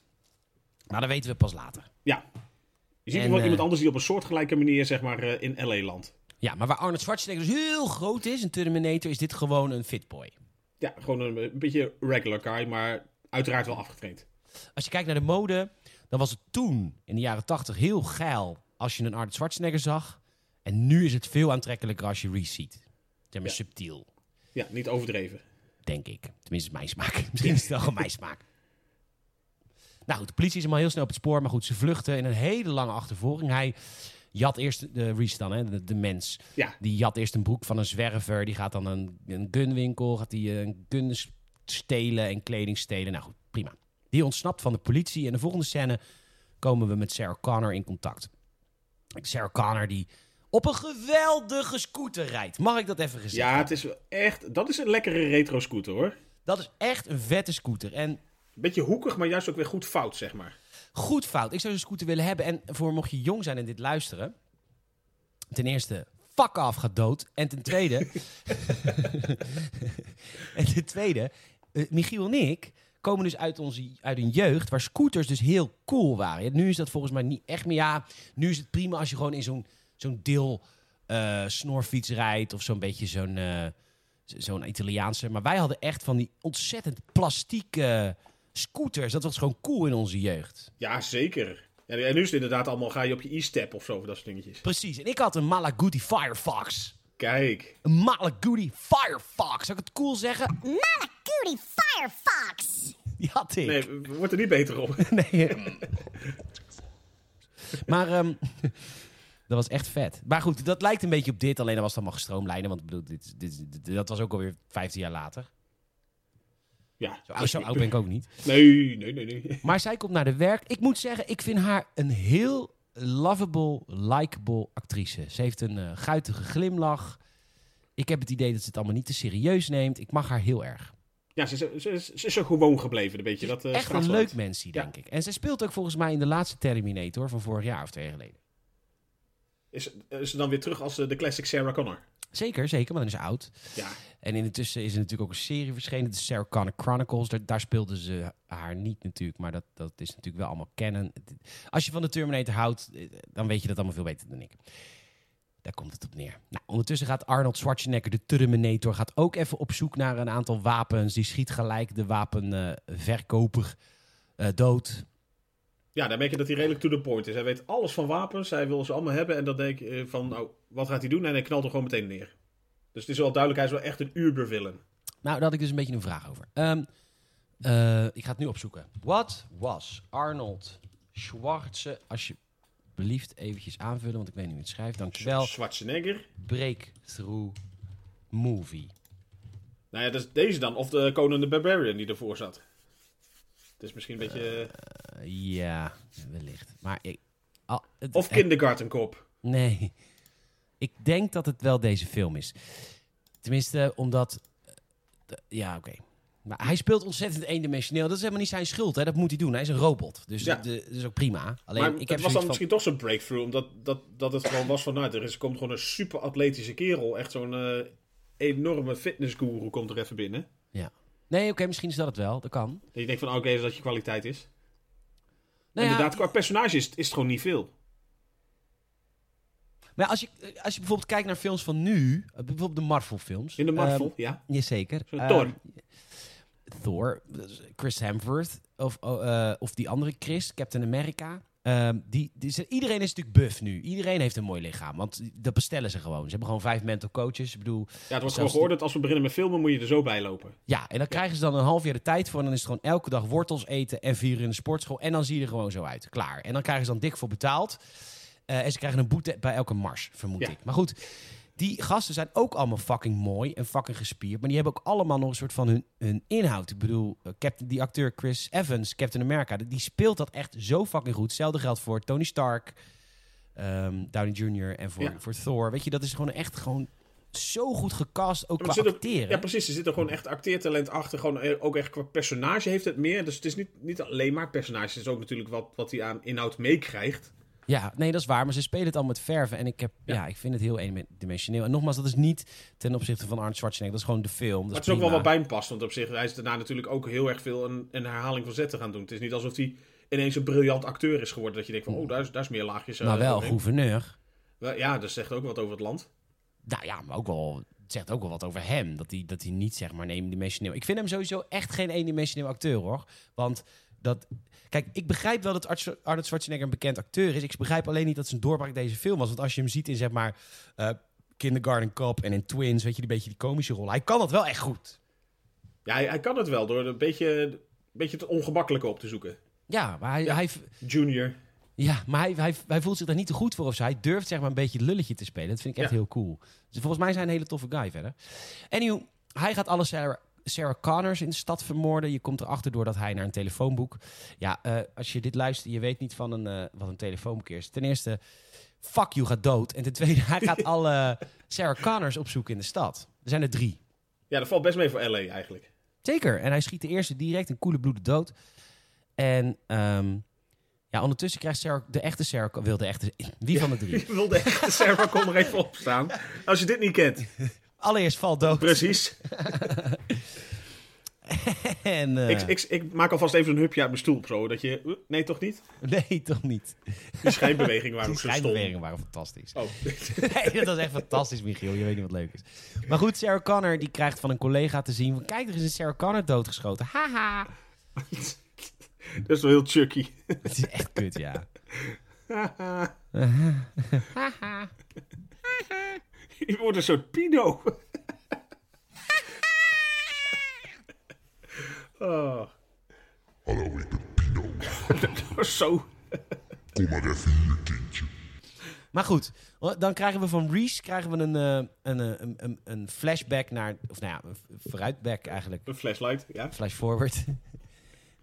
Maar dat weten we pas later. ja. Je ziet En, nog wel eh, iemand anders die op een soortgelijke manier zeg maar eh, in L.A. landt. Ja, maar waar Arnold Schwarzenegger dus heel groot is, een Terminator, is dit gewoon een fitboy. Ja, gewoon een, een beetje regular guy, maar uiteraard wel afgetraind. Als je kijkt naar de mode, dan was het toen, in de jaren tachtig, heel geil als je een Arnold Schwarzenegger zag. En nu is het veel aantrekkelijker als je Reese ziet. Zeg maar subtiel, Ja, niet overdreven. denk ik. Tenminste, mijn smaak. [LAUGHS] Misschien is het wel gewoon mijn smaak. Nou goed, de politie is hem al heel snel op het spoor. Maar goed, ze vluchten in een hele lange achtervolging. Hij jat eerst, de Reese dan, hè, de, de mens. Ja. Die jat eerst een broek van een zwerver. Die gaat dan een, een gunwinkel, gaat die eh, een gun s- stelen en kleding stelen. Nou goed, Prima. Die ontsnapt van de politie. En de volgende scène komen we met Sarah Connor in contact. Sarah Connor die op een geweldige scooter rijdt. Mag ik dat even gezegd Ja, het is wel echt. Dat is een lekkere retro scooter hoor. Dat is echt een vette scooter. En Beetje hoekig, maar juist ook weer goed fout, zeg maar. goed fout. Ik zou zo'n scooter willen hebben. En voor mocht je jong zijn en dit luisteren. Ten eerste, fuck af gaat dood. En ten tweede. [LAUGHS] en ten tweede, eh, Michiel en ik komen dus uit, onze, uit een jeugd waar scooters dus heel cool waren. Ja, nu is dat volgens mij niet echt meer. Ja, nu is het prima als je gewoon in zo'n zo'n deel eh, snorfiets rijdt. Of zo'n beetje zo'n. eh, zo- zo'n Italiaanse. Maar wij hadden echt van die ontzettend plastieke scooters. Dat was gewoon cool in onze jeugd. Ja, zeker. En, en nu is het inderdaad allemaal, ga je op je e-step of zo, van dat soort dingetjes. Precies. En ik had een Malaguti Firefox. Kijk. Een Malaguti Firefox. Zou ik het cool zeggen? [LAUGHS] Malakuti Firefox! Die had ik. Nee, het wordt er niet beter [LAUGHS] op. Nee. maar ehm, [LAUGHS] dat was echt vet. Maar goed, dat lijkt een beetje op dit. Alleen dat was dan maar gestroomlijnen. Want ik bedoel, dit, is- dit, is- dit- dat was ook alweer 15 jaar later. Ja. Zo oud, zo oud ben ik ook niet. Nee, nee, nee, nee. Maar zij komt naar de werk. Ik moet zeggen, ik vind haar een heel lovable, likable actrice. Ze heeft een eh, guitige glimlach. Ik heb het idee dat ze het allemaal niet te serieus neemt. Ik mag haar heel erg. Ja, ze, ze, ze, ze is zo gewoon gebleven, een beetje. Dat, eh, Echt een strafland. leuk mensje, Ja. denk ik. En ze speelt ook volgens mij in de laatste Terminator van vorig jaar of twee jaar geleden. Is, is ze dan weer terug als eh, de classic Sarah Connor? Zeker, zeker, maar dan is ze oud. Ja. En intussen is er natuurlijk ook een serie verschenen, de Sarah Connor Chronicles. Daar, daar speelden ze haar niet natuurlijk, maar dat, dat is natuurlijk wel allemaal kennen. Als je van de Terminator houdt, eh, dan weet je dat allemaal veel beter dan ik. Daar komt het op neer. Nou, ondertussen gaat Arnold Schwarzenegger, de Terminator, gaat ook even op zoek naar een aantal wapens. Die schiet gelijk de wapenverkoper eh, dood. Ja, dan merk je dat hij redelijk to the point is. Hij weet alles van wapens, hij wil ze allemaal hebben. En dan denk je eh, van, nou, wat gaat hij doen? En hij knalt er gewoon meteen neer. Dus het is wel duidelijk, hij is wel echt een ubervillain. Nou, daar had ik dus een beetje een vraag over. Ehm, eh, ik ga het nu opzoeken. Wat was Arnold Schwarzenegger... Alsjeblieft eventjes aanvullen, want ik weet niet hoe je het schrijft. Dankjewel. Schwarzenegger. Breakthrough movie. Nou ja, dat is deze dan. Of de Conan the Barbarian die ervoor zat. Het is misschien een beetje... eh, Eh, ja, wellicht. Maar ik... ah, het- of eh, Kindergarten Cop. Nee. Ik denk dat het wel deze film is. Tenminste, omdat... eh, d- ja, oké. Maar hij speelt ontzettend eendimensioneel. Dat is helemaal niet zijn schuld, hè. Dat moet hij doen. Hij is een robot. Dus Ja. dat- dat is ook prima. Alleen, Maar ik het was heb zoiets dan van... misschien toch zo'n breakthrough. Omdat dat, dat het gewoon was van... Nou, er is, komt gewoon een super atletische kerel. Echt zo'n eh, enorme fitnessguru komt er even binnen. Ja. Nee, oké, misschien is dat het wel. Dat kan. Dat je denkt van... Oké, dat je kwaliteit is. Nou ja, Inderdaad, qua personage is, het- is het gewoon niet veel. maar als je, eh, als je bijvoorbeeld kijkt naar films van nu, eh, bijvoorbeeld de Marvel-films. In de Marvel, ja. Ehm, jazeker. Zo'n Ehm, Thor. Thor, dus Chris Hemsworth of, oh, eh, of die andere Chris, Captain America. Ehm, die, die zijn- iedereen is natuurlijk buff nu. Iedereen heeft een mooi lichaam, want dat bestellen ze gewoon. Ze hebben gewoon vijf mental coaches. Ik bedoel, Ja, het wordt Zelfs gewoon geoordeeld. Als we beginnen met filmen, moet je er zo bij lopen. ja, en dan krijgen ze dan een half jaar de tijd voor. En dan is het gewoon elke dag wortels eten en vier uur in de sportschool. En dan zie je er gewoon zo uit. Klaar. En dan krijgen ze dan dik voor betaald. Eh, en ze krijgen een boete bij elke mars, vermoed Ja. ik. Maar goed, die gasten zijn ook allemaal fucking mooi en fucking gespierd. Maar die hebben ook allemaal nog een soort van hun, hun inhoud. Ik bedoel, eh, Captain, die acteur Chris Evans, Captain America, die- die speelt dat echt zo fucking goed. Hetzelfde geldt voor Tony Stark, ehm, Downey Jr. en voor, Ja. voor Thor. Weet je, dat is gewoon echt gewoon zo goed gecast, ook Maar er qua zit ook- acteren. ja, precies. Er zit er gewoon echt acteertalent achter. Gewoon eh, ook echt qua personage heeft het meer. Dus het is niet, niet alleen maar personage. Het is ook natuurlijk wat, wat hij aan inhoud meekrijgt. Ja, nee, dat is waar. Maar ze spelen het al met verven. En ik, heb, ja. ik vind het heel eendimensioneel. En nogmaals, dat is niet ten opzichte van Arnold Schwarzenegger. Dat is gewoon de film. Dat Maar het is is ook wel prima. wat bij hem past. Want op zich, hij is daarna natuurlijk ook heel erg veel een, een herhaling van zetten gaan doen. Het is niet alsof hij ineens een briljant acteur is geworden. Dat je denkt van, oh, daar is, daar is meer laagjes. eh, Maar Nou, wel, overheen. gouverneur. Wel, Ja, dat zegt ook wat over het land. Nou ja, maar ook wel, het zegt ook wel wat over hem. Dat hij, dat hij niet, zeg maar, een eendimensioneel... Ik vind hem sowieso echt geen eendimensioneel acteur, hoor. Want dat... Kijk, ik begrijp wel dat Arts- Arnold Schwarzenegger een bekend acteur is. Ik begrijp alleen niet dat zijn doorbraak deze film was. Want als je hem ziet in, zeg maar, eh, Kindergarten Cop en in Twins... weet je, die beetje die komische rol. Hij kan dat wel echt goed. Ja, hij, hij kan het wel door een beetje, een beetje het ongemakkelijke op te zoeken. Ja, maar hij, hij, Junior. Ja, maar hij, hij, hij voelt zich daar niet te goed voor of zo. Hij durft zeg maar een beetje het lulletje te spelen. Dat vind ik echt Ja. heel cool. Dus volgens mij zijn hij een hele toffe guy verder. Anywho, hij gaat alles Sarah Sarah Connors in de stad vermoorden. Je komt erachter door dat hij naar een telefoonboek. Ja, eh, als je dit luistert, je weet niet van een, eh, wat een telefoonboek is. Ten eerste, fuck you gaat dood. En ten tweede, hij gaat alle Sarah Connors opzoeken in de stad. Er zijn er drie. Ja, dat valt best mee voor LA eigenlijk. Zeker. En hij schiet de eerste direct in koele bloeden dood. En ehm, ja, ondertussen krijgt Sarah, de echte Sarah... Wil de echte... [LAUGHS] Wie van de drie? Je wilde echt de server kon er even op staan. Als je dit niet kent. Allereerst valt dood. Precies. En, eh, Ik, ik, ik maak alvast even een hupje uit mijn stoel of zo. Dat je... eh, Nee, toch niet? Nee, toch niet. Die schijnbewegingen waren Die ook zo stom. schrijnbewegingen waren fantastisch. Oh, [LAUGHS] [LAUGHS] Nee, dat was echt fantastisch, Michiel. Je weet niet wat leuk is. Maar goed, Sarah Connor die krijgt van een collega te zien... van, Kijk, er is een Sarah Connor doodgeschoten. Haha. dat is wel heel chucky. Het is echt kut, ja. [LAUGHS] Je wordt een soort pino. Oh, Hallo, ik ben [LAUGHS] Pino. zo. Kom maar even hier, kindje. Maar goed, oh, dan krijgen we van Reese krijgen we een, eh, een, eh, een, een, een flashback naar... Of nou ja, een vooruitback eigenlijk. Een flashlight, ja. Flash forward. [LAUGHS]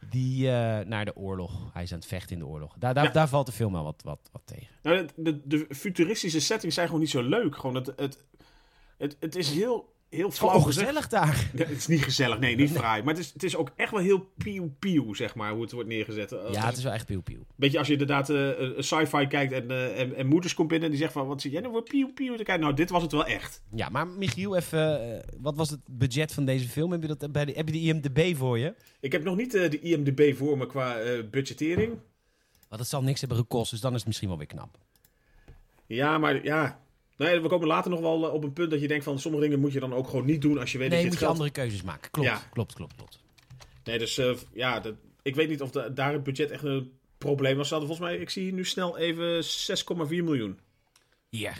Die eh, naar de oorlog. Hij is aan het vechten in de oorlog. Daar, daar, daar valt de film al wat, wat, wat tegen. Nou, de, de, de futuristische settings zijn gewoon niet zo leuk. Gewoon het, het, het, het is heel, heel flauw Oh, gezegd. gezellig daar. Ja, het is niet gezellig, nee, niet fraai. Maar het is, het is ook echt wel heel pieuw-pieuw, zeg maar, hoe het wordt neergezet. Als- Ja, het is wel echt pieuw pieuw. Beetje als je inderdaad eh, een sci-fi kijkt en, eh, en, en moeders komt binnen en die zegt van... Wat zie jij nou voor pieuw-pieuw? Dan kijk je, nou, dit was het wel echt. Ja, maar Michiel, even, eh, wat was het budget van deze film? Heb je, dat bij de, heb je de IMDB voor je? Ik heb nog niet eh, de IMDB voor me qua eh, budgettering. Want het zal niks hebben gekost, dus dan is het misschien wel weer knap. Ja, maar ja... Nou ja, we komen later nog wel eh, op een punt dat je denkt van... Sommige dingen moet je dan ook gewoon niet doen als je weet Nee, dat je het moet je geld... andere keuzes maken. Klopt, Ja. klopt, klopt, klopt. Nee, dus eh, ja, dat, ik weet niet of da- daar het budget echt een probleem was. Ze hadden volgens mij, ik zie hier nu snel even 6,4 miljoen. Ja.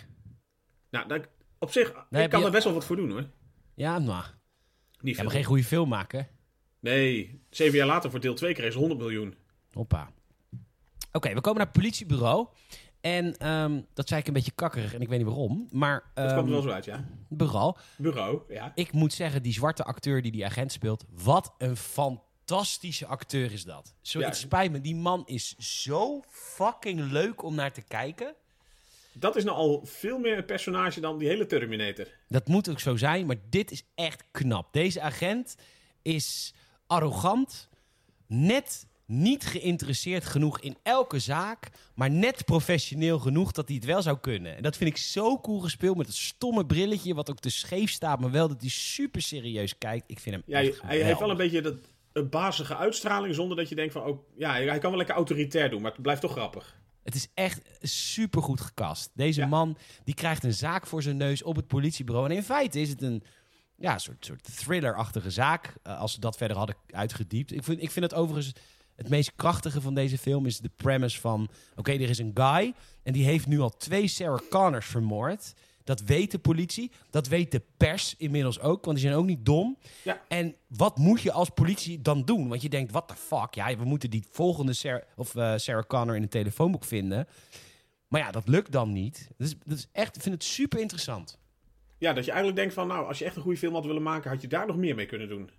Nou, daar- op zich, heb ik kan je- er best wel wat voor doen hoor. Ja, nou. Niet Ja, maar veel. geen goede film maken. Nee, zeven jaar later voor deel 2 kreeg ze 100 miljoen. Hoppa. Oké, we komen naar het politiebureau. En ehm, dat zei ik een beetje kakkerig en ik weet niet waarom. Maar Dat kwam er wel ehm zo uit, ja. bureau, Bureau, ja. ik moet zeggen, die zwarte acteur die die agent speelt, wat een fantastische acteur is dat. Zo, Ja. Het spijt me, die man is zo fucking leuk om naar te kijken. Dat is nou al veel meer een personage dan die hele Terminator. Dat moet ook zo zijn, maar dit is echt knap. Deze agent is arrogant, net niet geïnteresseerd genoeg in elke zaak, maar net professioneel genoeg dat hij het wel zou kunnen. En dat vind ik zo cool gespeeld met dat stomme brilletje, wat ook te scheef staat, maar wel dat hij super serieus kijkt. Ik vind hem Ja, hij, echt hij heeft wel geweldig. een beetje dat, een bazige uitstraling zonder dat je denkt van... Oh, ja, hij hij kan wel lekker autoritair doen, maar het blijft toch grappig. Het is echt supergoed gekast. Deze Ja. man die krijgt een zaak voor zijn neus op het politiebureau. En in feite is het een ja, soort, soort thriller-achtige zaak. eh, als ze dat verder hadden uitgediept. Ik vind, ik vind het overigens het meest krachtige van deze film is de premise van... Oké, er is een guy en die heeft nu al twee Sarah Connors vermoord. Dat weet de politie. Dat weet de pers inmiddels ook, want die zijn ook niet dom. Ja. En wat moet je als politie dan doen? Want je denkt, what the fuck? Ja, we moeten die volgende Sarah, of, eh, Sarah Connor in het telefoonboek vinden. Maar ja, dat lukt dan niet. Dus dat is echt, ik vind het super interessant. Ja, dat je eigenlijk denkt van... Nou, als je echt een goede film had willen maken, had je daar nog meer mee kunnen doen.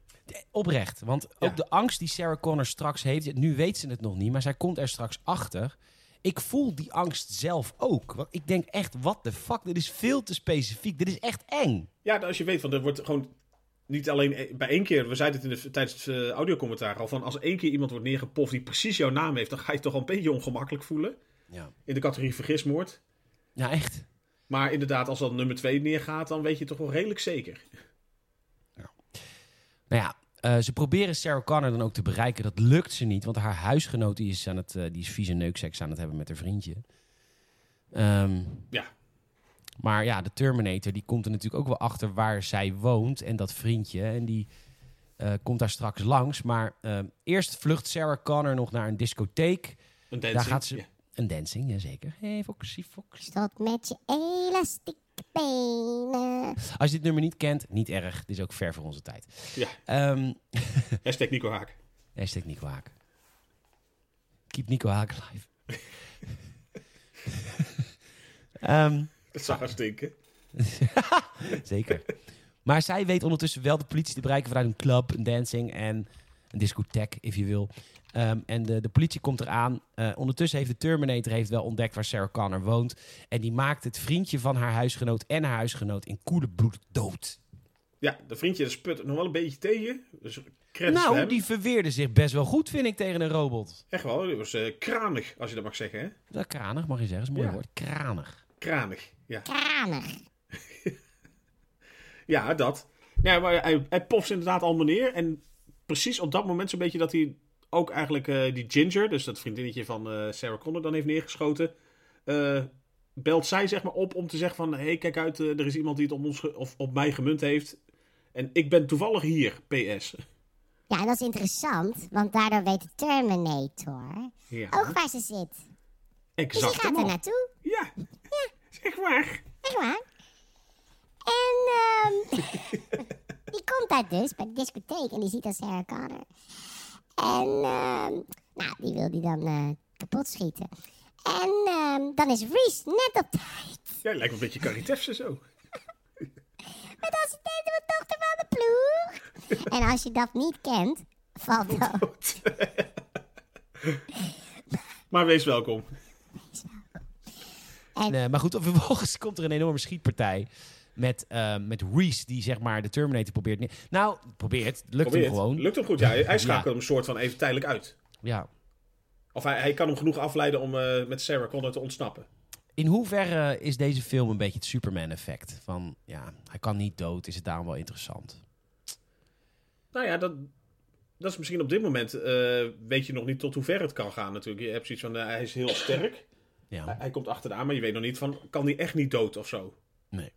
Oprecht. Want ook Ja. de angst die Sarah Connor straks heeft, nu weet ze het nog niet, maar zij komt er straks achter. Ik voel die angst zelf ook. Want ik denk echt, what the fuck? Dit is veel te specifiek. Dit is echt eng. Ja, als je weet, van er wordt gewoon niet alleen e- bij één keer. We zeiden het in de, tijdens het eh, audiocommentaar al van als één keer iemand wordt neergepoft die precies jouw naam heeft, dan ga je je toch al een beetje ongemakkelijk voelen. Ja, In de categorie vergismoord. ja echt. Maar inderdaad, als dan nummer twee neergaat, dan weet je het toch wel redelijk zeker. Nou ja, eh, ze proberen Sarah Connor dan ook te bereiken. Dat lukt ze niet, want haar huisgenoot die is, aan het, eh, die is vieze neukseks aan het hebben met haar vriendje. Ehm, Ja, maar ja, de Terminator die komt er natuurlijk ook wel achter waar zij woont en dat vriendje. En die eh, komt daar straks langs. Maar ehm, eerst vlucht Sarah Connor nog naar een discotheek. een dancing. Daar gaat ze... Ja. Een dancing, jazeker. Hé, hey, Foxy, Foxy. Stop met je elastieke benen. Als je dit nummer niet kent, niet erg. Dit is ook ver voor onze tijd. Ja. Ehm Hashtag Nico [LAUGHS] Haak. Hashtag Nico Haak. Keep Nico Haak live. Ehm, Dat zou gaan stinken. zeker. Maar zij weet ondertussen wel de politie te bereiken vanuit een club, een dancing en een discotheek, if je wil. Ehm, en de, de politie komt eraan. Eh, ondertussen heeft de Terminator heeft wel ontdekt waar Sarah Connor woont. En die maakt het vriendje van haar huisgenoot en haar huisgenoot in koele bloed dood. Ja, dat vriendje dat sput nog wel een beetje tegen. Dus credits voor Nou, hem. die verweerde zich best wel goed, vind ik, tegen een robot. Echt wel, die was eh, kranig, als je dat mag zeggen. Hè? Dat kranig, mag je zeggen. Dat is een mooi Ja. woord. Kranig. Kranig, ja. Kranig. Ja, dat. Ja, maar hij, hij poft inderdaad allemaal neer. En precies op dat moment zo'n beetje dat hij ook eigenlijk eh, die Ginger, dus dat vriendinnetje van eh, Sarah Connor, dan heeft neergeschoten. eh, belt zij zeg maar op om te zeggen van, hé, hey, kijk uit, eh, er is iemand die het op, ons ge- of op mij gemunt heeft. En ik ben toevallig hier, PS. Ja, en dat is interessant, want daardoor weet de Terminator [LAUGHS] Ja, ook waar ze zit. Dus Oh, die exact. gaat er man. naartoe. Ja, zeg maar. Echt waar. En ehm, [LAUGHS] die komt daar dus bij de discotheek en die ziet dat Sarah Connor. En ehm, nou, die wil die dan eh, kapot schieten. En ehm, dan is Reese net op tijd. Jij lijkt me een beetje Caritefse zo. [LAUGHS] Maar dan is het de dochter van de ploeg. En als je dat niet kent, valt [LAUGHS] dood. Maar wees welkom. [LAUGHS] En, eh, maar goed, vervolgens komt er een enorme schietpartij. Met, eh, met Reese, die zeg maar de Terminator probeert. neer- Nou, probeert. Lukt Probeer hem het. gewoon. Lukt hem goed, ja. Hij schakelt hem soort van even tijdelijk uit. Ja. Of hij, hij kan hem genoeg afleiden om eh, met Sarah Connor te ontsnappen. In hoeverre is deze film een beetje het Superman-effect? Van ja, hij kan niet dood, is het daarom wel interessant? Nou ja, dat, dat is misschien op dit moment... eh, weet je nog niet tot hoe ver het kan gaan natuurlijk. Je hebt zoiets van, eh, hij is heel sterk. Hij, Ja. hij komt achteraan, maar je weet nog niet van... kan hij echt niet dood of zo? Nee.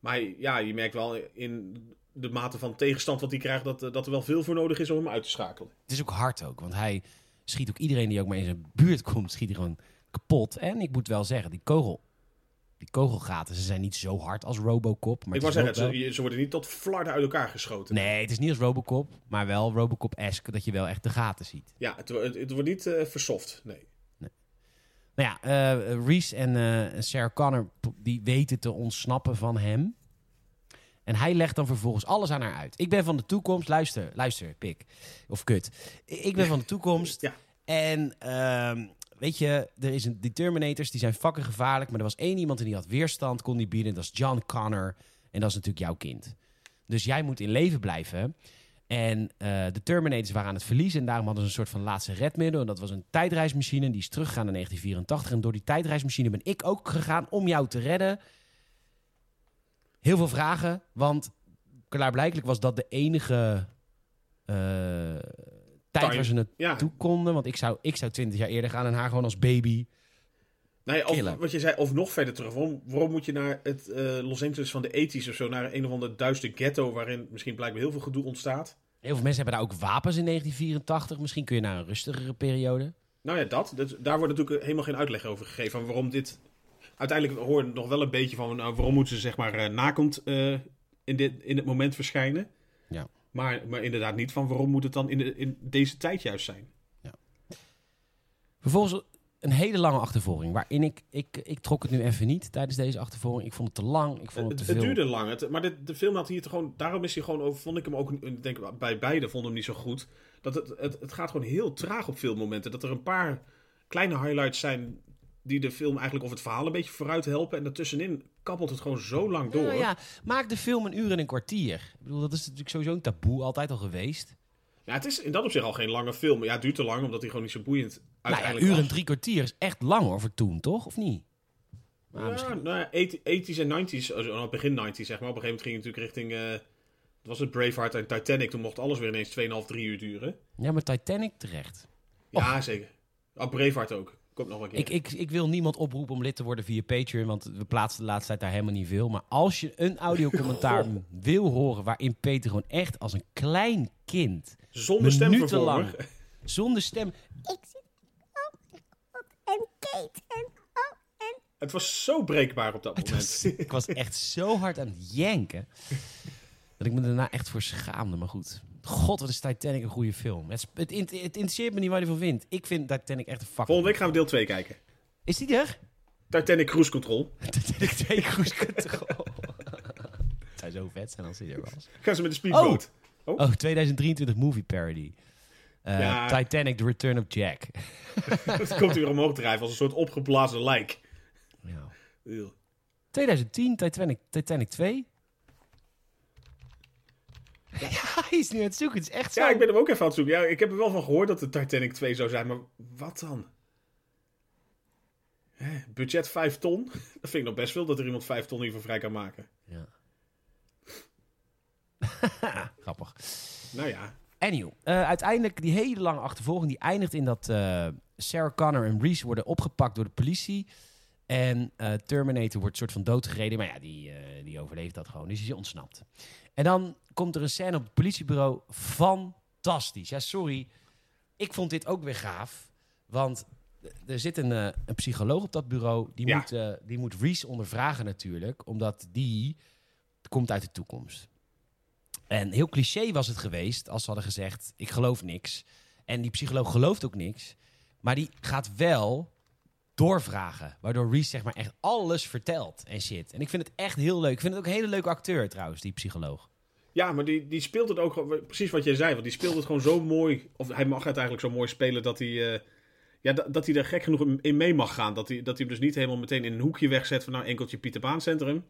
Maar hij- ja, je merkt wel in de mate van tegenstand wat hij krijgt... dat, eh, dat er wel veel voor nodig is om hem uit te schakelen. Het is ook hard ook, want hij schiet ook iedereen die ook maar in zijn buurt [LAUGHS] komt, schiet hij gewoon kapot. En ik moet wel zeggen, die kogel, die kogelgaten, ze zijn niet zo hard als Robocop. Maar Ik het wou is zeggen, wel- ze, je- ze worden niet tot flarden uit elkaar geschoten. Nee, het is niet als Robocop, maar wel Robocop-esque dat je wel echt de gaten ziet. Ja, het, wo- het, het wordt niet eh, versoft, nee. Nou ja, eh, Reese en eh, Sarah Connor pro- die weten te ontsnappen van hem. En hij legt dan vervolgens alles aan haar uit. Ik ben van de toekomst. Luister, luister, pik. Of kut. I- Ik ben van de toekomst. Ja. En ehm, weet je, er is een, die Terminators die zijn fucking gevaarlijk. Maar er was één iemand en die had weerstand, kon die bieden. Dat is John Connor. En dat is natuurlijk jouw kind. Dus jij moet in leven blijven. En eh, de Terminators waren aan het verliezen. En daarom hadden ze een soort van laatste redmiddel. En dat was een tijdreismachine. En die is teruggegaan in 1984. En door die tijdreismachine ben ik ook gegaan om jou te redden. Heel veel vragen. Want klaarblijkelijk was dat de enige eh, tijd Time. waar ze naartoe Ja, konden. Want ik zou, ik zou 20 jaar eerder gaan en haar gewoon als baby. Nou ja, of, Killen. wat je zei, of nog verder terug. Waarom, waarom moet je naar het eh, Los Angeles van de 80s of zo, naar een of ander duister ghetto waarin misschien blijkbaar heel veel gedoe ontstaat? Heel veel mensen hebben daar ook wapens in 1984. Misschien kun je naar een rustigere periode. Nou ja, dat. dat- daar wordt natuurlijk eh, helemaal geen uitleg over gegeven. Van waarom dit. Uiteindelijk hoor je nog wel een beetje van nou, waarom moeten ze zeg maar eh, nakomt eh, in, dit, in het moment verschijnen. Ja. Maar, maar inderdaad niet van waarom moet het dan in, de, in deze tijd juist zijn. Vervolgens een hele lange achtervolging. Waarin ik, ik, ik trok het nu even niet tijdens deze achtervolging. Ik vond het te lang. Ik vond Het, het, te het veel. duurde lang. Het, maar de, de film had hier toch gewoon. Daarom is hij gewoon over. Vond ik hem ook. Ik denk bij beide vond hem niet zo goed. Dat het, het, het gaat gewoon heel traag op veel momenten. Dat er een paar kleine highlights zijn. die de film eigenlijk. of het verhaal een beetje vooruit helpen. En daartussenin kabbelt het gewoon zo lang door. Nou ja, maak de film een uur en een kwartier. Ik bedoel, dat is natuurlijk sowieso een taboe altijd al geweest. Nou Ja, het is in dat opzicht al geen lange film. Ja, het duurt te lang omdat hij gewoon niet zo boeiend Nou ja, uiteindelijk een uur en was. drie kwartier is echt lang hoor voor toen, toch? Of niet? Maar Ja, Ah, misschien- nou ja, 80s en 90s, also, nou, begin 90s zeg maar. Op een gegeven moment ging het natuurlijk richting, eh, het was het Braveheart en Titanic. Toen mocht alles weer ineens 2,5, 3 uur duren. ja, maar Titanic terecht. Ja, zeker. Ah, Braveheart ook. Komt nog een keer. Ik, ik, ik wil niemand oproepen om lid te worden via Patreon, want we plaatsen de laatste tijd daar helemaal niet veel. Maar als je een [LAUGHS] audiocommentaar wil horen waarin Peter gewoon echt als een klein kind, Zonder minutenlang, stemvervormer. [LAUGHS] zonder stem, Ik zit oh, en Kate en oh en Het was zo breekbaar op dat Het was, moment. ik was echt zo hard aan het janken. Dat ik me daarna echt voor schaamde. Maar goed. God, wat is Titanic een goede film. Het, is- het, int- het interesseert me niet waar je van vindt. Ik vind Titanic echt een fucking... Volgende week gaan we deel 2 kijken. Is die er? [LAUGHS] Titanic Cruise Control. Titanic 2 Cruise Control. [LAUGHS] zou zo vet zijn als hij er was. Gaan ze met de speedboot? Oh, 2023 Movie Parody. Eh, Ja. Titanic, The Return of Jack. Het komt weer omhoog drijven als een soort opgeblazen lijk. Ja. Eeuw. 2010, Titanic, Titanic 2. [LAUGHS] Ja. hij is nu aan het zoeken. Het is echt zo. Ja, ik ben hem ook even aan het zoeken. Ja, ik heb er wel van gehoord dat de Titanic 2 zou zijn, maar wat dan? Hè, budget 5 ton? [LAUGHS] Dat vind ik nog best veel dat er iemand 5 ton hiervoor vrij kan maken. Ja. [LAUGHS] Grappig. Nou ja, Anywho, eh, uiteindelijk die hele lange achtervolging die eindigt in dat eh, Sarah Connor en Reese worden opgepakt door de politie. En eh, Terminator wordt soort van doodgereden, maar ja, die, eh, die overleeft dat gewoon. Dus die is ontsnapt. En dan komt er een scène op het politiebureau. Fantastisch. Ja, sorry. Ik vond dit ook weer gaaf. Want er zit een, eh, een psycholoog op dat bureau. Die, Ja. moet, eh, die moet Reese ondervragen natuurlijk. Omdat die komt uit de toekomst. En heel cliché was het geweest als ze hadden gezegd: Ik geloof niks. En die psycholoog gelooft ook niks. Maar die gaat wel doorvragen. Waardoor Reese zeg maar echt alles vertelt en shit. En ik vind het echt heel leuk. Ik vind het ook een hele leuke acteur trouwens, die psycholoog. Ja, maar die, die speelt het ook gewoon- precies wat jij zei. Want die speelt het gewoon zo mooi. Of hij mag het eigenlijk zo mooi spelen dat hij, eh, ja, dat, dat hij er gek genoeg in mee mag gaan. Dat hij, dat hij hem dus niet helemaal meteen in een hoekje wegzet van nou enkeltje Pieter Baan Centrum.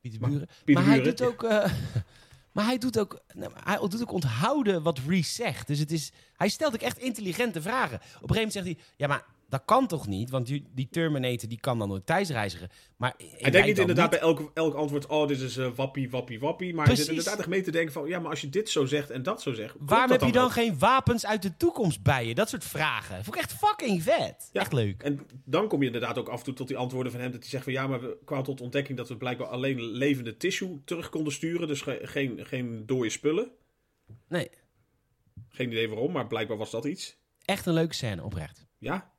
Pieter Buren. Pieter maar hij Buren, doet ook. eh, [LAUGHS] maar hij doet ook, nou, hij doet ook onthouden wat Reese zegt. Dus het is, hij stelt ook echt intelligente vragen. Op een gegeven moment zegt hij: Ja, maar dat kan toch niet? Want die, die Terminator die kan dan nooit thuisreizigen. Maar eh, Hij denkt niet inderdaad bij elk, elk antwoord, oh, dit is eh, wappie, wappie, wappie. Maar hij zit Precies. inderdaad echt mee te denken van, ja, maar als je dit zo zegt en dat zo zegt. klopt Waarom dat heb je dan ook? geen wapens uit de toekomst bij je? Dat soort vragen. Vond ik echt fucking vet. Ja. Echt leuk. En dan kom je inderdaad ook af en toe tot die antwoorden van hem. Dat hij zegt van ja, maar we kwamen tot ontdekking dat we blijkbaar alleen levende tissue terug konden sturen. Dus ge- geen, geen dode spullen. Nee, Geen idee waarom, maar blijkbaar was dat iets. echt een leuke scène, oprecht. Ja.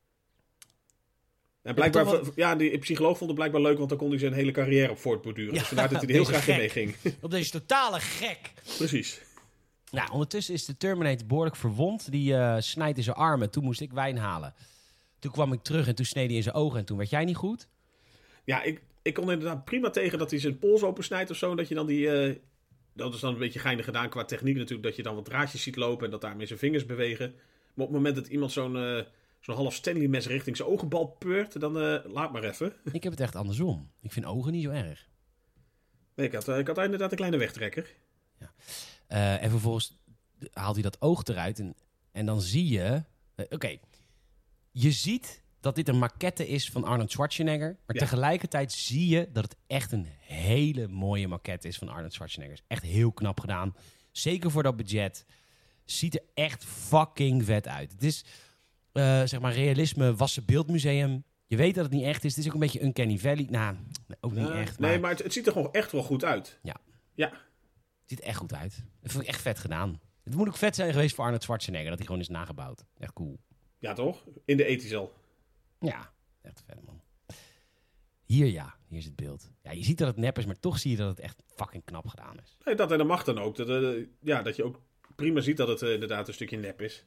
En blijkbaar, toch wel- ja, die psycholoog vond het blijkbaar leuk, want dan kon hij zijn hele carrière op voortborduren. Ja, dus vandaar dat hij er [LAUGHS] heel deze graag in mee gek. ging. [LAUGHS] Op deze totale gek. [LAUGHS] Precies. Nou, ondertussen is de Terminator behoorlijk verwond. Die eh, snijdt in zijn armen. Toen moest ik wijn halen. Toen kwam ik terug en toen sneed hij in zijn ogen. En toen werd jij niet goed. Ja, ik, ik kon inderdaad prima tegen dat hij zijn pols opensnijdt of zo. En dat je dan die, eh, dat is dan een beetje geinig gedaan qua techniek natuurlijk, dat je dan wat draadjes ziet lopen en dat daarmee zijn vingers bewegen. Maar op het moment dat iemand zo'n eh, zo'n half Stanley mes richting zijn ogenbal peurt, dan eh, laat maar even. [LAUGHS] Ik heb het echt andersom. Ik vind ogen niet zo erg. Nee, ik had, eh, ik had inderdaad een kleine wegtrekker. Eh, en vervolgens haalt hij dat oog eruit. En, en dan zie je. eh, Oké, je ziet dat dit een maquette is van Arnold Schwarzenegger. Maar Ja. tegelijkertijd zie je dat het echt een hele mooie maquette is van Arnold Schwarzenegger. Is Echt heel knap gedaan. Zeker voor dat budget. Ziet er echt fucking vet uit. Het is eh, zeg maar realisme, wassen beeldmuseum. Je weet dat het niet echt is. Het is ook een beetje Uncanny Valley. Nou, ook niet Eh, echt. Nee, maar maar het, het ziet er gewoon echt wel goed uit. Ja. Ja, ziet er echt goed uit. Dat vond ik echt vet gedaan. Het moet ook vet zijn geweest voor Arnold Schwarzenegger dat hij gewoon is nagebouwd. Echt cool. ja toch? In de ethisch al. Ja, echt vet man. Hier ja, hier is het beeld. Ja, je ziet dat het nep is, maar toch zie je dat het echt fucking knap gedaan is. Nee, dat en dat mag dan ook. Dat, eh, ja, dat je ook prima ziet dat het eh, inderdaad een stukje nep is.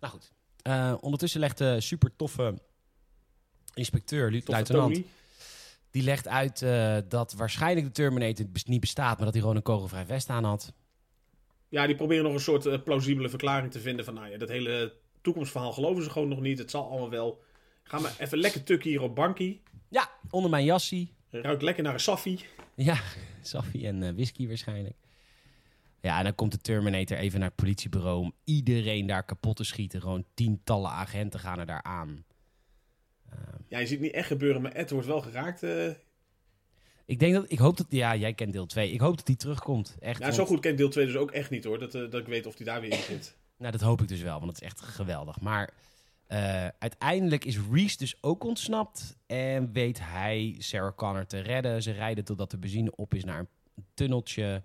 Nou goed. Eh, ondertussen legt de super toffe inspecteur, lu- Tot luitenant, Tony. die legt uit eh, dat waarschijnlijk de Terminator bes- niet bestaat, maar dat hij gewoon een kogelvrij vest aan had. Ja, die proberen nog een soort eh, plausibele verklaring te vinden van, nou ja, dat hele toekomstverhaal geloven ze gewoon nog niet. Het zal allemaal wel. Ga maar even lekker tukken hier op bankie. Ja, onder mijn jassie. Ruikt lekker naar een saffie. Ja, [LAUGHS] saffie en eh, whisky waarschijnlijk. Ja, en dan komt de Terminator even naar het politiebureau om iedereen daar kapot te schieten. Gewoon tientallen agenten gaan er daar aan. Ja, je ziet het niet echt gebeuren, maar Ed wordt wel geraakt. eh. Ik denk dat, ik hoop dat, ja, jij kent deel 2. Ik hoop dat die terugkomt. Echt. Ja, zo want- goed kent deel 2 dus ook echt niet hoor. Dat, eh, dat ik weet of die daar weer in zit. Nou, dat hoop ik dus wel, want het is echt geweldig. Maar eh, uiteindelijk is Reese dus ook ontsnapt. En weet hij Sarah Connor te redden. Ze rijden totdat de benzine op is naar een tunneltje.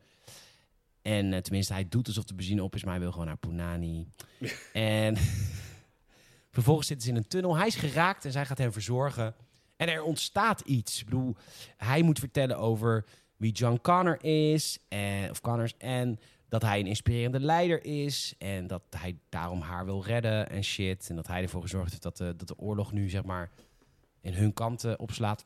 En eh, tenminste, hij doet alsof de benzine op is, maar hij wil gewoon naar Punani. en vervolgens zitten ze in een tunnel. Hij is geraakt en zij gaat hem verzorgen. En er ontstaat iets. Ik bedoel, hij moet vertellen over wie John Connor is. En, of Connors. En dat hij een inspirerende leider is. En dat hij daarom haar wil redden en shit. En dat hij ervoor gezorgd heeft dat de, dat de oorlog nu, zeg maar, in hun kant eh, opslaat.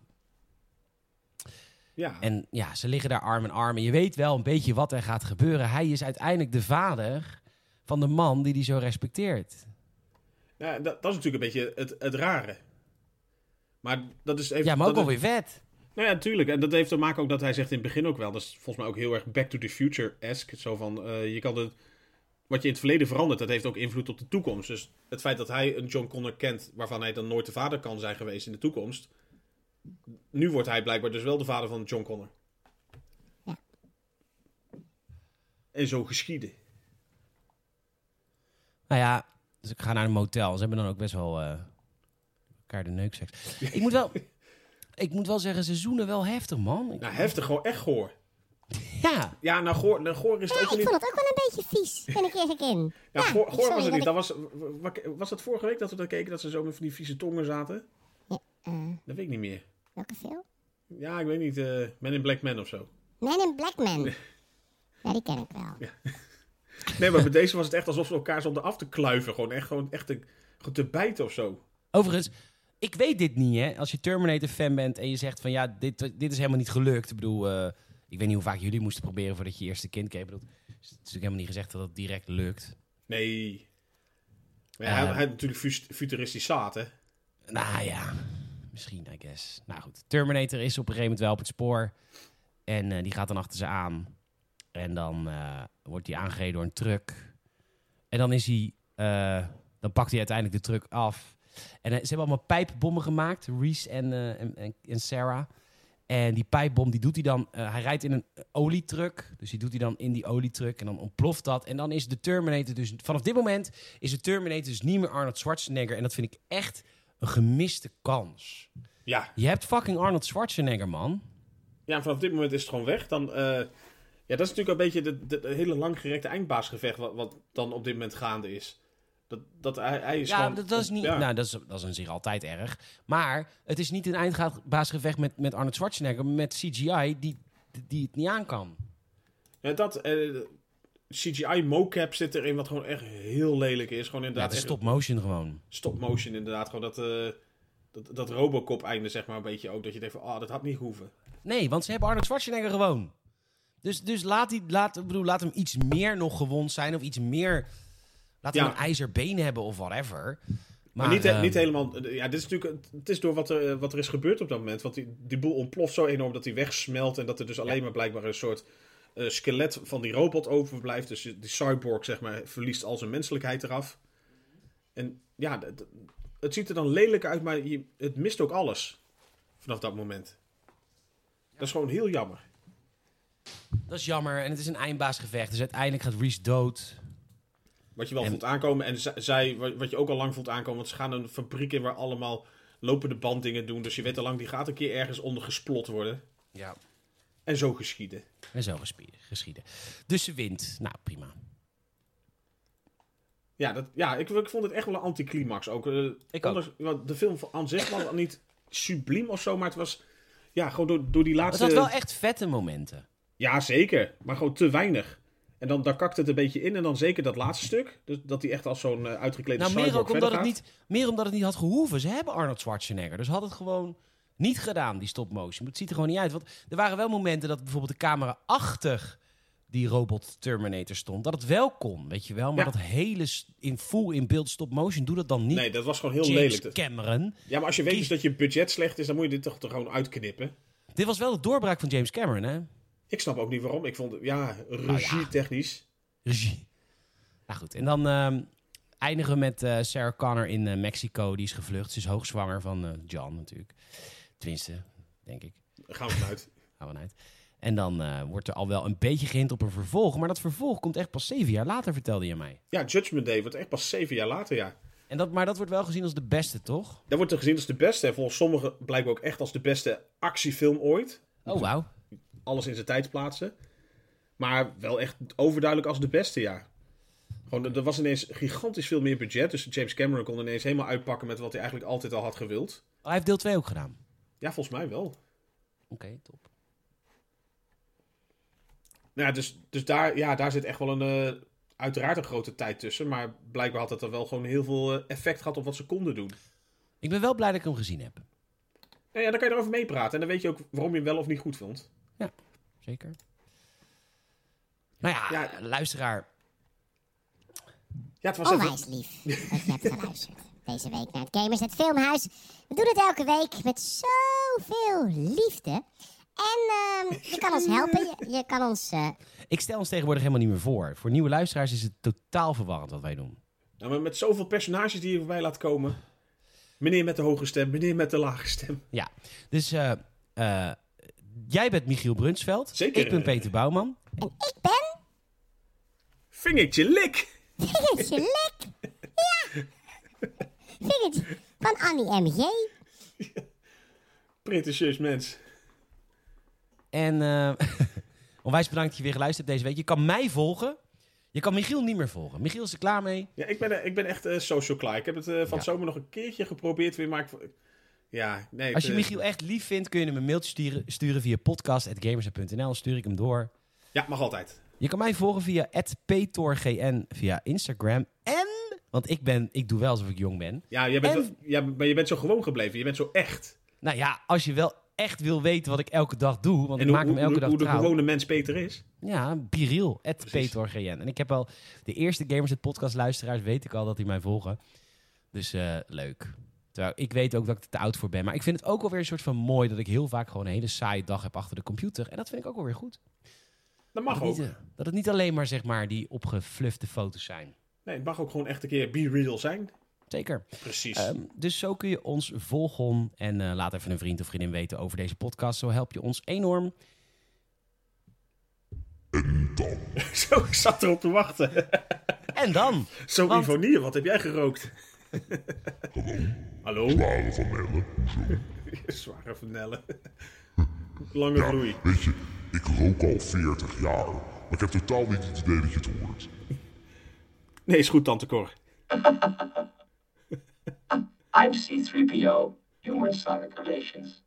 Ja. En ja, ze liggen daar arm in arm. En je weet wel een beetje wat er gaat gebeuren. Hij is uiteindelijk de vader van de man die hij zo respecteert. ja dat, dat is natuurlijk een beetje het, het rare. Maar dat is even. Ja, maar ook dat is- wel weer vet. Nou ja, natuurlijk. En dat heeft te maken ook dat hij zegt in het begin ook wel. Dat is volgens mij ook heel erg back to the future-esque. Zo van, eh, je kan het, wat je in het verleden verandert, dat heeft ook invloed op de toekomst. Dus het feit dat hij een John Connor kent, waarvan hij dan nooit de vader kan zijn geweest in de toekomst. Nu wordt hij blijkbaar dus wel de vader van John Connor. Ja. En zo geschieden. Nou ja, dus ik ga naar een motel. Ze hebben dan ook best wel eh, elkaar de neukseks. Ik moet wel, ik moet wel zeggen, ze zoenen wel heftig, man. Nou, heftig, gewoon echt goor. Ja, Ja, nou, goor, nou, goor is Ja, het ik ook vond niet... het ook wel een beetje vies, ben ik eerlijk in. Ja, goor, goor sorry, was het niet. Dat want was, wa- wa- was dat vorige week dat we dat keken, dat ze zo met van die vieze tongen zaten? ik- eh, Dat weet ik niet meer. welke film? Ja, ik weet niet. eh Men in Black Man of zo. Man in Black Man. Ja, die ken ik wel. Nee, [LAUGHS] maar bij deze was het echt alsof ze elkaar zonden af te kluiven. Gewoon echt, gewoon echt te, gewoon te bijten of zo. overigens, ik weet dit niet, hè. Als je Terminator-fan bent en je zegt van... ja, dit, dit is helemaal niet gelukt. Ik bedoel, eh, ik weet niet hoe vaak jullie moesten proberen... voordat je je eerste kind kreeg. Ik bedoel, het is natuurlijk helemaal niet gezegd dat het direct lukt. Nee. Maar ja, hij, Eh. hij had natuurlijk fus- futuristisch zaad, hè? Nou ja, misschien, I guess. Nou goed, Terminator is op een gegeven moment wel op het spoor. En eh, die gaat dan achter ze aan. En dan eh, wordt hij aangereden door een truck. En dan is hij... eh, dan pakt hij uiteindelijk de truck af. En eh, ze hebben allemaal pijpbommen gemaakt. Reese en, eh, en, en, en Sarah. En die pijpbom, die doet hij dan... eh, hij rijdt in een olietruck. Dus die doet hij dan in die olietruck. En dan ontploft dat. En dan is de Terminator dus... Vanaf dit moment is de Terminator dus niet meer Arnold Schwarzenegger. En dat vind ik echt een gemiste kans. Ja. Je hebt fucking Arnold Schwarzenegger, man. Ja, en vanaf dit moment is het gewoon weg. Dan, eh, ja, dat is natuurlijk een beetje de, de, de hele langgerekte eindbaasgevecht... Wat, wat dan op dit moment gaande is. Dat, dat hij, hij is Ja, gewoon... dat, dat is niet. ja. Nou, dat is, dat is aan zich altijd erg. Maar het is niet een eindbaasgevecht met, met Arnold Schwarzenegger, maar met CGI die, die het niet aan kan. Ja, dat... eh, CGI mocap zit erin, wat gewoon echt heel lelijk is. Gewoon Ja, inderdaad het is echt- stop motion gewoon. stop motion inderdaad. Gewoon dat, eh, dat, dat Robocop einde zeg maar een beetje ook. Dat je denkt van, ah, dat had niet hoeven. Nee, want ze hebben Arnold Schwarzenegger gewoon. Dus, dus laat, die, laat, ik bedoel, laat hem iets meer nog gewond zijn of iets meer. Laat Ja. hem een ijzerbeen hebben of whatever. Maar, Maar, niet, he- ehm, niet helemaal... eh, Ja, dit is natuurlijk... Het is door wat er, wat er is gebeurd op dat moment. Want die, die boel ontploft zo enorm dat die wegsmelt. En dat er dus alleen maar blijkbaar een soort eh, skelet van die robot overblijft. Dus die cyborg, zeg maar, verliest al zijn menselijkheid eraf. En ja, d- d- het ziet er dan lelijk uit, maar je, het mist ook alles. Vanaf dat moment. Dat is gewoon heel jammer. Dat is jammer en het is een eindbaasgevecht. Dus uiteindelijk gaat Reese dood. Wat je wel En- voelt aankomen. En z- zij, wa- wat je ook al lang voelt aankomen. Want ze gaan een fabriek in waar allemaal lopende banddingen doen. Dus je weet al lang, die gaat een keer ergens onder gesplot worden. Ja. En zo geschieden. En zo gespie- geschieden. Dus ze wint. Nou, prima. Ja, dat, ja ik, ik vond het echt wel een anticlimax ook. eh, Ik ook. want de film van- aan zich was al niet subliem of zo. Maar het was ja, gewoon door, door die Het laatste... had wel echt vette momenten. Ja, zeker. Maar gewoon te weinig. En dan, dan kakt het een beetje in. En dan zeker dat laatste stuk. Dus dat die echt als zo'n eh, uitgeklede Nou, meer cyborg ook omdat verder het, gaat. niet, meer omdat het niet had gehoeven. Ze hebben Arnold Schwarzenegger. Dus had het gewoon niet gedaan, die stop-motion. Maar Het ziet er gewoon niet uit. Want er waren wel momenten dat bijvoorbeeld de camera achter die robot Terminator stond. Dat het wel kon, weet je wel. Maar Ja. dat hele s- in full in beeld stop-motion, doe dat dan niet. Nee, dat was gewoon heel James lelijk. dus. Dat- Cameron. Ja, maar als je weet dus dat je budget slecht is, dan moet je dit toch, toch gewoon uitknippen. Dit was wel de doorbraak van James Cameron, hè? Ik snap ook niet waarom. Ik vond het, ja, regie-technisch. Regie. Nou goed, en dan ehm, eindigen we met eh, Sarah Connor in eh, Mexico. Die is gevlucht. Ze is hoogzwanger van eh, John natuurlijk. Tenminste, denk ik. Gaan we vanuit. Gaan we vanuit. En dan eh, wordt er al wel een beetje gehind op een vervolg. Maar dat vervolg komt echt pas zeven jaar later, vertelde je mij. Ja, Judgment Day wordt echt pas zeven jaar later, ja. En dat, maar dat wordt wel gezien als de beste, toch? Dat wordt er gezien als de beste. En volgens sommigen blijkbaar ook echt als de beste actiefilm ooit. Oh, wauw. Alles in zijn tijd plaatsen. Maar wel echt overduidelijk als de beste, ja. Gewoon, er- er was ineens gigantisch veel meer budget. Dus James Cameron kon ineens helemaal uitpakken met wat hij eigenlijk altijd al had gewild. Oh, hij heeft deel 2 ook gedaan. Ja, volgens mij wel. Oké, top. Nou, ja, dus, dus daar, ja, daar zit echt wel een. eh, uiteraard een grote tijd tussen. Maar blijkbaar had dat dan wel gewoon heel veel eh, effect gehad op wat ze konden doen. Ik ben wel blij dat ik hem gezien heb. Nou ja, dan kan je erover meepraten. En dan weet je ook waarom je hem wel of niet goed vond. Zeker. Nou ja, Ja. luisteraar. Ja, het was Oh, even- Onwijs lief dat je hebt geluisterd deze week naar het Gamers het Filmhuis. We doen het elke week met zoveel liefde. En ehm, je kan ons helpen. Je, je kan ons... eh, Ik stel ons tegenwoordig helemaal niet meer voor. Voor nieuwe luisteraars is het totaal verwarrend wat wij doen. Nou, maar met zoveel personages die je voorbij laat komen. Meneer met de hoge stem, meneer met de lage stem. Ja, dus eh, eh, jij bent Michiel Brunsveld. Zeker. Ik ben Peter Bouwman. en ik ben... Vingertje lik! [LAUGHS] Vingertje Lek. Ja. Vingertje van Annie M.G. Pretentieus mens. En eh, [LAUGHS] onwijs bedankt dat je weer geluisterd hebt deze week. Je kan mij volgen. Je kan Michiel niet meer volgen. Michiel is er klaar mee. Ja, ik ben, eh, ik ben echt eh, social klaar. Ik heb het eh, van Ja. het zomer nog een keertje geprobeerd weer, maar ik... Ja, nee. het, Als je eh, Michiel echt lief vindt, kun je hem een mailtje sturen, sturen via podcast.gamers.nl. Stuur ik hem door. Ja, mag altijd. Je kan mij volgen via @petorgn via Instagram. En, want ik, ben, ik doe wel alsof ik jong ben. Ja, jij bent En- wel- ja, maar je bent zo gewoon gebleven. Je bent zo echt. Nou ja, als je wel echt wil weten wat ik elke dag doe, want En ik hoe, maak hem hoe- elke hoe- dag hoe de trouw. gewone mens Peter is. Ja, Biriel, at PetorGN. En ik heb al de eerste Gamers het podcast luisteraars, weet ik al dat die mij volgen. Dus eh, leuk. Terwijl ik weet ook dat ik er te oud voor ben. Maar ik vind het ook wel weer een soort van mooi dat ik heel vaak gewoon een hele saaie dag heb achter de computer. En dat vind ik ook wel weer goed. Dat Dat mag het niet, ook. eh, dat het niet alleen maar, zeg maar, die opgeflufte foto's zijn. Nee, het mag ook gewoon echt een keer be real zijn. Zeker. Precies. Ehm, dus zo kun je ons volgen. En eh, laat even een vriend of vriendin weten over deze podcast. Zo help je ons enorm. [LAUGHS] zo, ik zat erop te [LAUGHS] wachten. En [LAUGHS] dan, Zo'n Want- Ivonier, wat heb jij gerookt? [LAUGHS] Hallo? Klare van Nelle. Hoezo? Zware [LAUGHS] vanellen. Lange bloei. Weet je, ik rook al 40 jaar. Maar ik heb totaal niet het idee dat je het hoort. Nee, is goed, tante Cor. I'm C3PO, your Sonic Relations.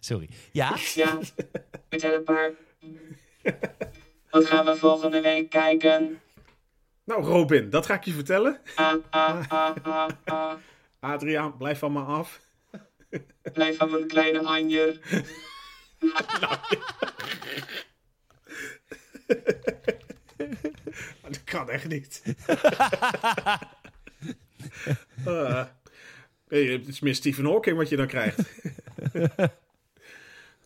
sorry. Ja, Ja, [LAUGHS] we zijn het maar. Wat gaan we volgende week kijken? Nou, Robin, dat ga ik je [LAUGHS] vertellen. Adriaan, blijf van me af. Blijf van mijn kleine Anjer. [LAUGHS] Dat kan echt [LAUGHS] niet. Eh, nee, het is meer Stephen Hawking wat je dan [LAUGHS] krijgt.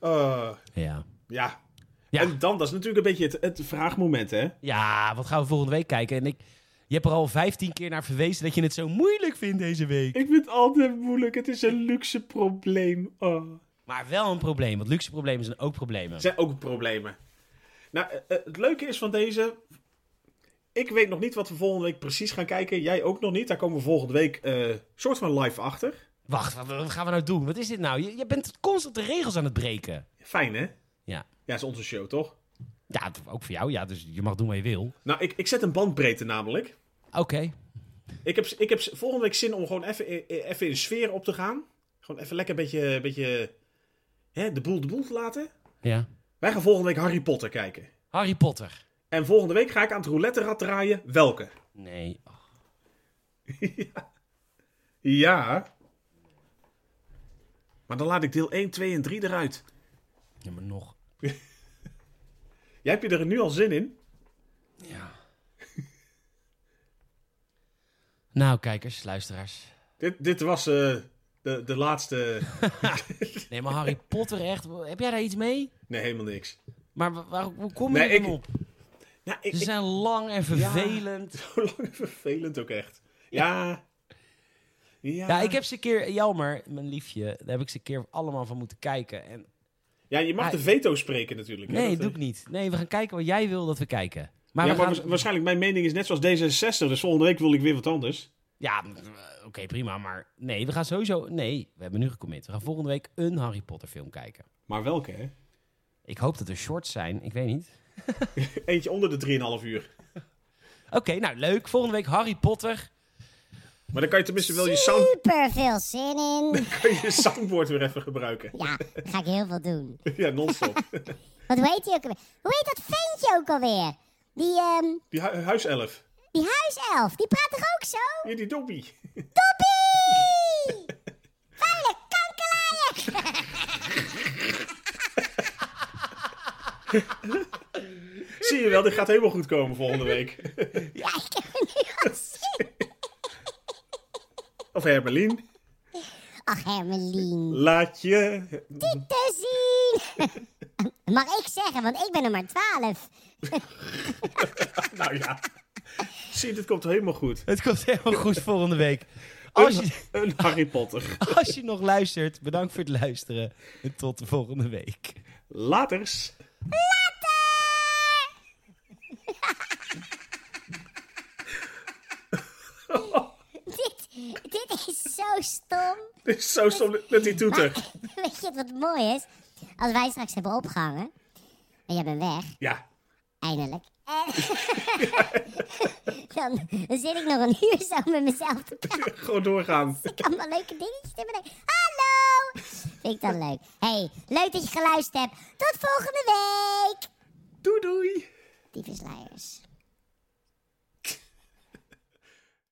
Eh, ja. ja. Ja. En dan, dat is natuurlijk een beetje het, het vraagmoment, hè? Ja, wat gaan we volgende week kijken? En ik, je hebt er al 15 keer naar verwezen dat je het zo moeilijk vindt deze week. Ik vind het altijd moeilijk. Het is een luxe probleem. Oh. Maar wel een probleem, want luxe problemen zijn ook problemen. zijn ook problemen. Nou, eh, eh, het leuke is van deze. Ik weet nog niet wat we volgende week precies gaan kijken. Jij ook nog niet. Daar komen we volgende week eh soort van live achter. Wacht, wat, wat gaan we nou doen? Wat is dit nou? Je, je bent constant de regels aan het breken. Fijn, hè? Ja. Ja, is onze show, toch? Ja, t- ook voor jou. Ja, dus je mag doen wat je wil. Nou, ik, ik zet een bandbreedte namelijk. Oké. Ik heb, ik heb volgende week zin om gewoon even, in- in- even in sfeer op te gaan. Gewoon even lekker een beetje, een beetje hè, de boel de boel te laten. Ja. Wij gaan volgende week Harry Potter kijken. Harry Potter. En volgende week ga ik aan het roulette rad draaien. Welke? Nee. Ja. Maar dan laat ik deel 1, 2 en 3 eruit. Ja, maar nog. Jij hebt je er nu al zin in? Ja. nou, kijkers, luisteraars. Dit, dit was eh, de, de laatste. [LAUGHS] Nee, maar Harry Potter echt. Heb jij daar iets mee? Nee, helemaal niks. Maar wa- waar, hoe kom je Nee, er ik- dan op? Nou, ik, Ze ik zijn lang en vervelend. [LAUGHS] zo lang vervelend ook echt. Ja. Ja, Ja, ik heb ze een keer, Jelmer, mijn liefje, daar heb ik ze een keer allemaal van moeten kijken. En, ja je mag Ja, de veto spreken natuurlijk. hè, nee, dat, doe eh, ik niet. Nee, we gaan kijken wat jij wil dat we kijken. Maar Ja, we maar gaan- waars- waarschijnlijk mijn mening is net zoals D66. Dus volgende week wil ik weer wat anders. ja m- eh, oké, prima. Maar nee, we gaan sowieso... Nee, we hebben nu gecommit. We gaan volgende week een Harry Potter film kijken. Maar welke, hè? Ik hoop dat er shorts zijn. Ik weet niet. Eentje onder de 3,5 uur. Oké, nou leuk. Volgende week Harry Potter. Maar dan kan je tenminste wel je, sound, Super veel zin in. kan [LAUGHS] je soundboard weer even gebruiken. [LAUGHS] Ja, daar ga ik heel veel doen. Ja, non-stop. [LAUGHS] Wat weet je ook alweer? Hoe heet dat ventje ook alweer? Die, ehm, Die hu- huiself. die huiself, die praat toch ook zo? Ja, die Dobby. Toppie! Zie je wel, dit gaat helemaal goed komen volgende week. Ja, ik heb hem nu al zin. Of Hermelien. Ach, Hermelien. Laat je. Te zien. [LAUGHS] Mag ik zeggen, want ik ben er maar 12. Nou ja. Zie je, dit komt helemaal goed. Het komt helemaal goed volgende week. Als Een- je, Een Harry Potter. als je nog luistert, bedankt voor het luisteren. En tot de volgende week. Laters. Dit, dit is zo stom. [LAUGHS] Dit is zo stom met die toeter. Weet je wat mooi is? Als wij straks hebben opgehangen. En jij bent weg, Ja. eindelijk. En dan, [LAUGHS] dan zit ik nog een uur zo met mezelf te praten. Gewoon doorgaan. Ik allemaal leuke dingetjes te bedenken. Hallo! Vind ik dat leuk. hey, leuk dat je geluisterd hebt. Tot volgende week! Doei doei. Lieve sluiers.